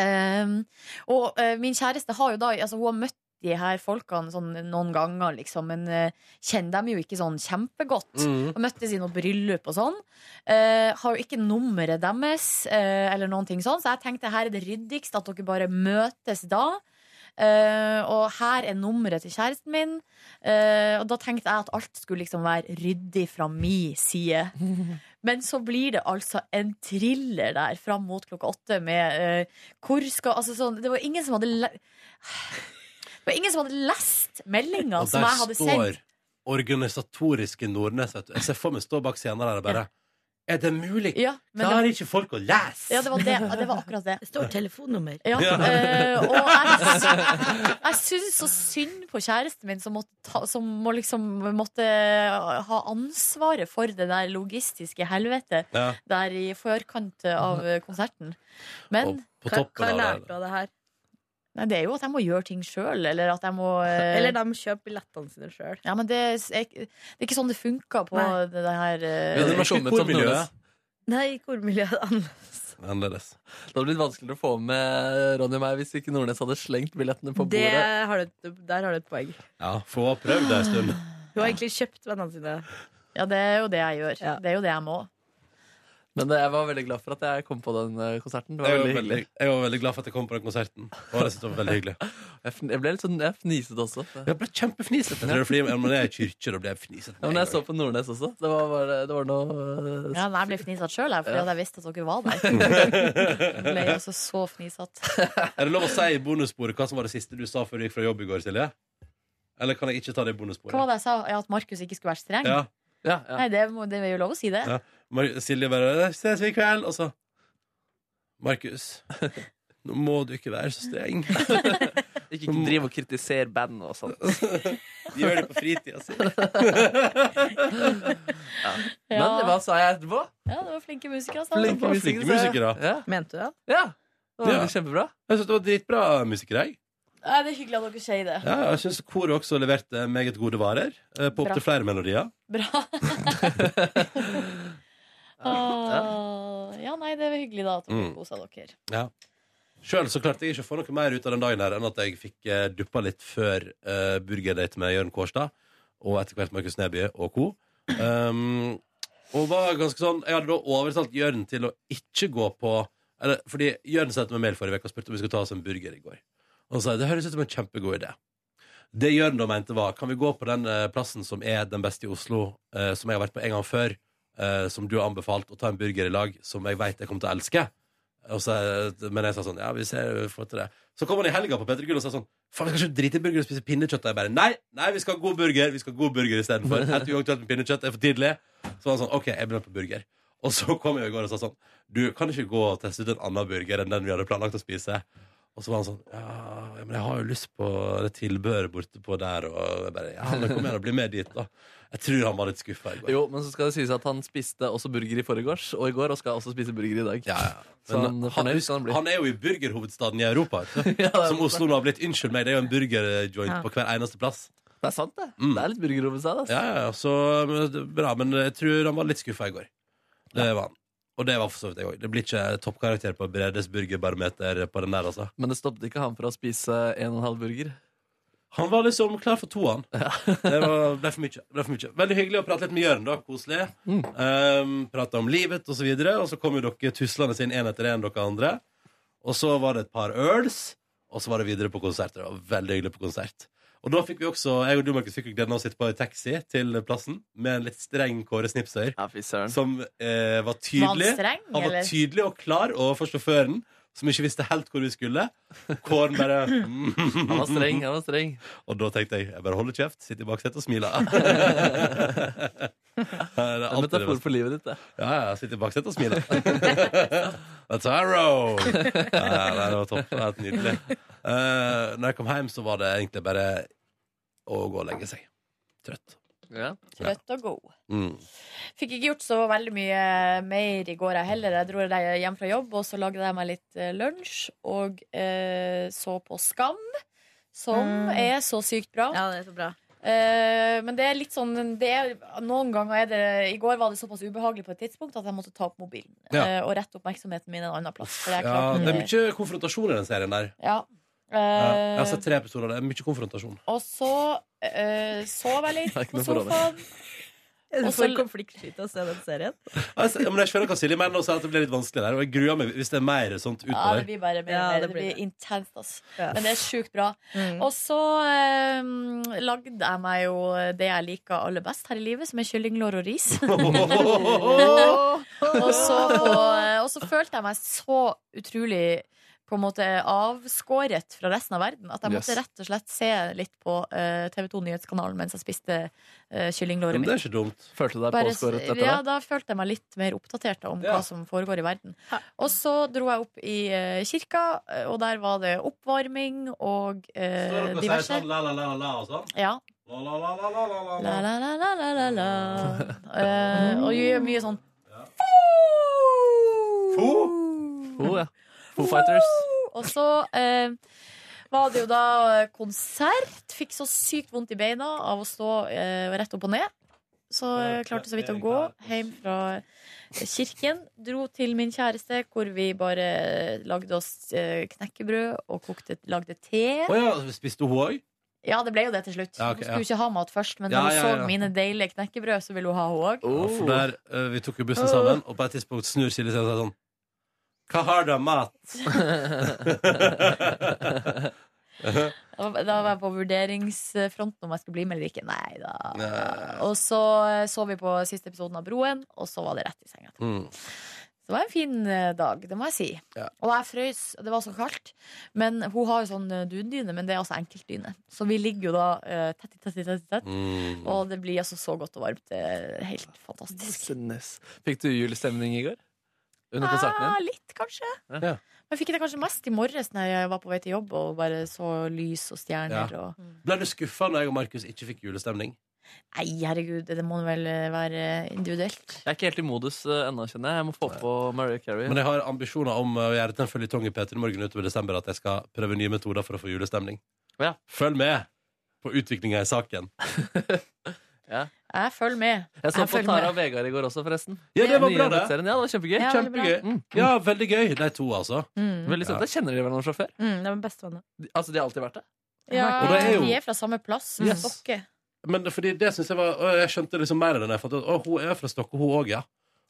Ehm, og eh, min kjæreste har jo da altså, Hun har møtt de her folkene sånn, noen ganger, liksom, men eh, kjenner dem jo ikke sånn
Mhm.
kjempegodt.
Mm.
Og møttes i noe bryllup og sånn. Eh, har jo ikke nummeret deres, eh, eller noen ting sånn, så jeg tenkte her er det ryddigst at dere bare møtes da. Eh, og her er nummeret til kjæresten min. Eh, og da tenkte jeg at alt skulle liksom være ryddig fra mi side. Men så blir det altså en thriller der fram mot klokka åtte med eh, Hvor skal Altså sånn Det var ingen som hadde le <sighs> Det var ingen som hadde lest meldinga
Og
som
der
jeg hadde
står
sendt.
organisatoriske Nordnes. Vet du. Jeg ser for meg stå bak scenen der og bare Er det mulig?
Ja, men det-
Klarer ikke folk å lese?
Ja, det var, det, det var akkurat det. Det
står telefonnummer.
Ja,
Ja.
eh, og jeg, sy- jeg syns så synd på kjæresten min, som, måtte ta, som må liksom, måtte ha ansvaret for det der logistiske helvetet
Ja.
der i forkant av
Mhm.
eh, konserten. Men
på Hva- toppen hva av lærte det,
du av det her?
Nei, det er jo at jeg må gjøre ting sjøl, eller at jeg må eh,
Eller de kjøper billettene sine sjøl.
ja, men det er, det er ikke sånn det funker på
Nei.
det, det her eh,
Men det norske
Kommet som
kormiljøet.
Nordnes.
Nei, kormiljøet er annerledes.
Annerledes.
Det hadde blitt vanskeligere å få med Ronny og meg hvis ikke Nordnes hadde slengt billettene på
Det
bordet.
har du, et- der har du et poeng.
Ja, få prøvd det en stund.
Hun har egentlig kjøpt vennene sine.
Ja, det er jo det jeg gjør. Det er jo det jeg må.
Men eh, jeg var veldig glad for at jeg kom på den eh, konserten. Det var
Jeg var,
veldig
veldig,
hyggelig.
jeg var veldig glad for at jeg kom på den konserten. Og det synes jeg var veldig hyggelig
Jeg fn- jeg ble litt sånn, jeg fniset også.
<laughs> Jeg ble kjempefnisete. Jeg tror det er fordi om det er i kirke, da blir jeg fnisete.
Ja, men jeg så på Nordnes også. Det var, bare, det var noe eh,
Ja, men jeg ble fnisete sjøl, fordi
Ja.
at jeg visste at dere var der. ble jeg også så fnisete.
Er det lov å si i bonussporet hva som var det siste du sa før du gikk fra jobb i går, Silje? Eller kan jeg ikke ta det i bonussporet?
Hva var det jeg sa? Ja, at Markus ikke skulle være streng?
Ja. Ja, ja.
Nei, det, må, det er jo lov å si det.
Ja. Mar- Silje bare «Eh, 'Ses vi i kveld', og så Markus, nå må du ikke være så streng.
Ikke, ikke driv og kritiser band og sånt.
De gjør det på fritida si.
ja. Men hva sa jeg etterpå?
Ja, det var flinke musikere. altså. sa
Flinke
han.
musikere. Flinke musikere.
Mente du det?
Ja.
Det var kjempebra. Jeg synes det var dritbra musikere. jeg.
Nei, det er hyggelig at dere sier det.
Ja, jeg syns koret også leverte meget gode varer. eh, På
Bra.
opptil flere melodier. <laughs>
Bra. Åh, Ah, ja, nei, det er hyggelig da at dere
Mm.
kosa dere.
Ja. Sjøl så klarte jeg ikke å få noe mer ut av den dagen her enn at jeg fikk eh, duppa litt før eh, burgerdate med Jørn Kårstad og etter hvert Markus Neby og co. Um, og var ganske sånn Jeg hadde da overtalt Jørn til å ikke gå på eller, Fordi Jørn sendte meg mail forrige uke og spurte om vi skulle ta oss en burger i går. Og han sa det høres ut som en kjempegod idé. Det Jørn da mente var Kan vi gå på den eh, plassen som er den beste i Oslo eh, Som jeg har vært på en gang før eh, Som du har anbefalt Å ta en burger i lag Som jeg vet jeg kommer til å elske Og så, Men jeg sa sånn Ja, vi ser vi får til det Så kom han i helga på Petter Gull og sa sånn Faen, vi skal ikke drite i burger og spise pinnekjøtt Og Jeg bare Nei, nei, vi skal ha god burger Vi skal ha god burger i stedet for Helt uaktuelt med pinnekjøtt Det er for tidlig Så var han sånn Ok, jeg begynner på burger Og så kom jeg i går og sa sånn Du, kan du ikke gå og teste ut en annen burger Enn den vi hadde planlagt å spise og så var han sånn Ja, ja, men jeg har jo lyst på det tilbehøret borte på der. Og jeg bare, ja, men kom igjen og bli med dit, da. Jeg tror han var litt skuffa i går.
Jo, men så skal det sies at han spiste også burger i forgårs og i går, og skal også spise burger i dag. Så
Men
han,
han,
fornøyd
husk-
skal han bli. <laughs>
han er jo i burgerhovedstaden i Europa. vet du. som Oslo nå har blitt. Unnskyld meg, det er jo en burgerjoint
Ja.
på hver eneste plass.
Det er sant, det. Det er litt altså. burgerhovedstad. ass.
Ja, ja, ja, så men det- bra. Men jeg tror han var litt skuffa i går. Det var han. Og det var for så vidt jeg òg. Det blir ikke toppkarakter på Bredes burgerbarometer på den der, altså.
Men det stoppet ikke han fra å spise en og en halv burger.
Han var liksom klar for toeren. Det var, ble, for mye, det ble for mye. Veldig hyggelig å prate litt med Jørn, da. Koselig. Mm. prate om livet og så videre. Og så kom jo dere tuslende inn en etter en, dere andre. Og så var det et par øls, og så var det videre på konsert. Det var veldig hyggelig på konsert. Og da fikk vi også, jeg og du, Markus, fikk jo gleden av å sitte på en taxi til plassen med en litt streng Kåre Snipsøyer. som eh, var tydelig.
Var han streng,
han var
eller?
tydelig og klar overfor sjåføren, som ikke visste helt hvor vi skulle. Kåren bare Han
var streng, han var streng.
Og da tenkte jeg jeg bare holder kjeft, sitter i baksetet og smiler.
Det er en metafor for livet ditt, det.
Ja, ja, jeg sitter i baksetet og smiler. <laughs> That's arrow! Ja, nei, det var topp. Det var helt nydelig. Eh, når jeg kom hjem, så var det egentlig bare å gå og legge seg. Trøtt.
Trøtt og god.
Mm.
Fikk ikke gjort så veldig mye mer i går jeg heller. Jeg dro deg hjem fra jobb, og så lagde jeg meg litt eh, lunsj og eh, så på Skam, som
Mm.
er så sykt bra.
Ja, det er så bra.
Eh, men det er litt sånn det er, Noen ganger er det I går var det såpass ubehagelig på et tidspunkt at jeg måtte ta opp mobilen
Ja.
eh, og rette oppmerksomheten min en annen plass. For jeg
Ja,
klarte-
det er mye konfrontasjon i den serien der.
Ja.
Ja,
Eh,
jeg har sett tre episoder. Det er mye konfrontasjon.
Og så eh, sov jeg
<laughs>
litt
Det er ikke
på
noe forhold.
sofaen.
Er
Og
det
så-
for konfliktskyt å se den serien?
Altså, ja, men jeg skjønner hva Silje mener, og sier at det blir litt vanskelig der. Og jeg gruer meg hvis det er mer sånt
Ja, det
utover.
blir bare mer,
Ja,
og mer.
det
det
blir
blir,
det. Mm.
intenst, altså. Men det er sjukt bra. Og så eh, lagde jeg meg jo det jeg liker aller best her i livet, som er kyllinglår og ris. <laughs> og, så på, eh, og så følte jeg meg så utrolig på en måte avskåret fra resten av verden. At jeg
Yes.
måtte rett og slett se litt på eh, TV 2 Nyhetskanalen mens jeg spiste eh, kyllinglåret
<laughs> Men
mitt.
det er ikke dumt.
Følte du deg
Bare-
påskåret etter
ja,
det?
da følte jeg meg litt mer oppdatert da, om
Ja.
hva som foregår i verden. Og så dro jeg opp i eh, kirka, eh, og der var det oppvarming og
Står
eh,
dere og sier
diverse.
sånn la, la, la, la, la og sånn?
Ja.
La, la, la, la, la, la, la.
La, la, la, la, la, la,
<laughs>
la. Eh, og gjør mye sånn
Fo, ja. Foo Fighters.
Og så eh, var det jo da eh, konsert. Fikk så sykt vondt i beina av å stå eh, rett opp og ned. Så eh, klarte så vidt å gå hjem fra eh, kirken. Dro til min kjæreste, hvor vi bare lagde oss eh, knekkebrød og kokte, lagde te.
Å ja, spiste hun òg?
Ja, det ble jo det til slutt.
Ja, ok,
hun
ja.
skulle ikke ha mat først, men
Ja,
når hun
ja, ja.
så mine deilige knekkebrød, så ville hun ha hun òg.
Ja, for der, eh, vi tok jo bussen sammen, og på et tidspunkt snur Silje seg og sier sånn Hva har du av mat?
Da da var jeg på vurderingsfronten om jeg skulle bli med eller ikke. Nei da. Og så eh, så vi på siste episoden av Broen, og så var det rett i senga.
Mm.
Så det var en fin eh, dag, det må jeg si. Og jeg frøys, og det var så kaldt. Men hun har jo sånn eh, dundyne, men det er altså enkeltdyne. Så vi ligger jo da eh, tett i tett i tett i tett.
Mm.
Og det blir altså så godt og varmt. Det er helt fantastisk.
Nice. Fikk du julestemning i går? Under konserten
Ja,
din?
litt, kanskje.
Ja.
Men jeg fikk det kanskje mest i morges når jeg var på vei til jobb og bare så lys og stjerner.
Ja.
Og
Ble du skuffa når jeg og Markus ikke fikk julestemning?
Nei, herregud, det må vel eh, være individuelt.
Jeg er ikke helt i modus eh, ennå, kjenner jeg. Jeg må få på Mariah Carey.
Men jeg har ambisjoner om eh, å gjøre til en føljetong i P3 Morgen utover desember at jeg skal prøve nye metoder for å få julestemning. Følg med på utviklinga i saken.
ja.
Jeg følger med.
Jeg så på
følger
Tara
med.
og Vegard i går også, forresten.
Ja, det var
Nye
bra, det.
nettserien. Ja, det var kjempegøy.
Ja, veldig bra.
Kjempegøy.
Mm. Ja, veldig gøy, de to, altså.
Mm.
Veldig søte. Kjenner de hverandre fra før?
Mm, det var bestevenner.
De- Altså, de har alltid vært det?
Ja,
Og det er jo-
de er fra samme plass. som
Yes.
Stokke.
Men det- fordi det synes jeg var å, Jeg skjønte liksom mer enn jeg fant ut. Å, hun er fra Stokke, hun òg, ja.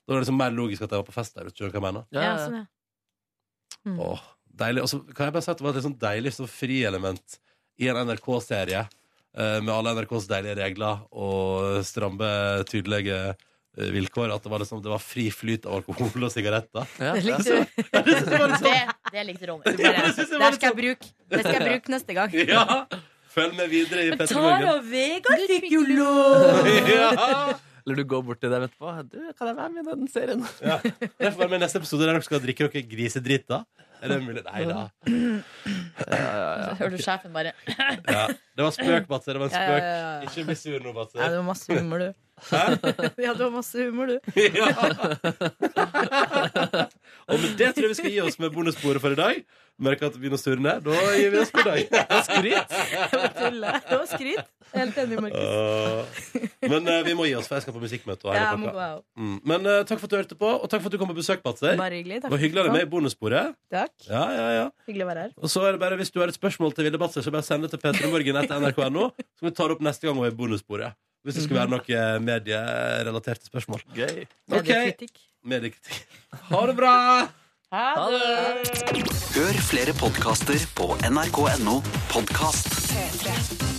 Da er det liksom mer logisk at jeg var på fest der. vet du hva jeg mener?
Ja, sånn, ja. Mm.
Åh, deilig. Og så kan jeg bare si at det var et litt sånn deilig sånn frielement i en NRK-serie. eh, Med alle NRKs deilige regler og stramme, tydelige eh, vilkår. At det var, liksom, det var fri flyt av alkohol og sigaretter.
Det
likte
Så-
Det, det likte Ronny. Du bare,
<laughs> Jeg synes det var
Der
litt sånn-
skal jeg bruke. Det skal jeg bruke neste gang.
Ja! Følg med videre i
Men
Petter
Tara
Morgen.
og Vegard fikk jo lov!
Ja.
Eller du går bort til dem etterpå. Du, kan jeg være med i den serien?
Ja. Jeg får være med i neste episode der dere skal drikke dere grisedrit, da. Er det mulig? Nei da. Ja, ja, ja.
Så hører du sjefen bare
Ja. Det var spøk, Batse. Det var en
Ja,
spøk.
ja, ja, ja.
Ikke bli sur nå, Batse.
Ja, det var masse humor, du.
Hæ?
<laughs> Ja, du har masse humor, du.
Ja. <laughs> Og med det tror jeg vi skal gi oss med bonussporet for i dag. Merker at det begynner å surne. Da gir vi oss for i
<laughs>
dag. Skryt!
Det var skryt. Helt enig, Markus.
Eh, men eh, vi må gi oss, for jeg skal på musikkmøte. Og hele
Ja, jeg må
pakka.
gå, jeg også.
mm. Men eh, takk for at du hørte på, og takk for at du kom på besøk, Batser.
Bare hyggelig,
Det var
takk for at
hyggelig å
du
ha deg med
kom.
i bonussporet.
Takk.
Ja, ja, ja.
Hyggelig å være her.
Og så er det bare, Hvis du har et spørsmål til Vilde Batzer, så bare send det til p3morgen etter nrk.no. Så vi tar det opp neste gang hun er i bonussporet. Hvis det skulle være noen medierelaterte spørsmål. Gøy.
Mediekritikk.
Mediekritikk. Ha det bra!
Ha det!
Hør flere podkaster på nrk.no podkast.
P3.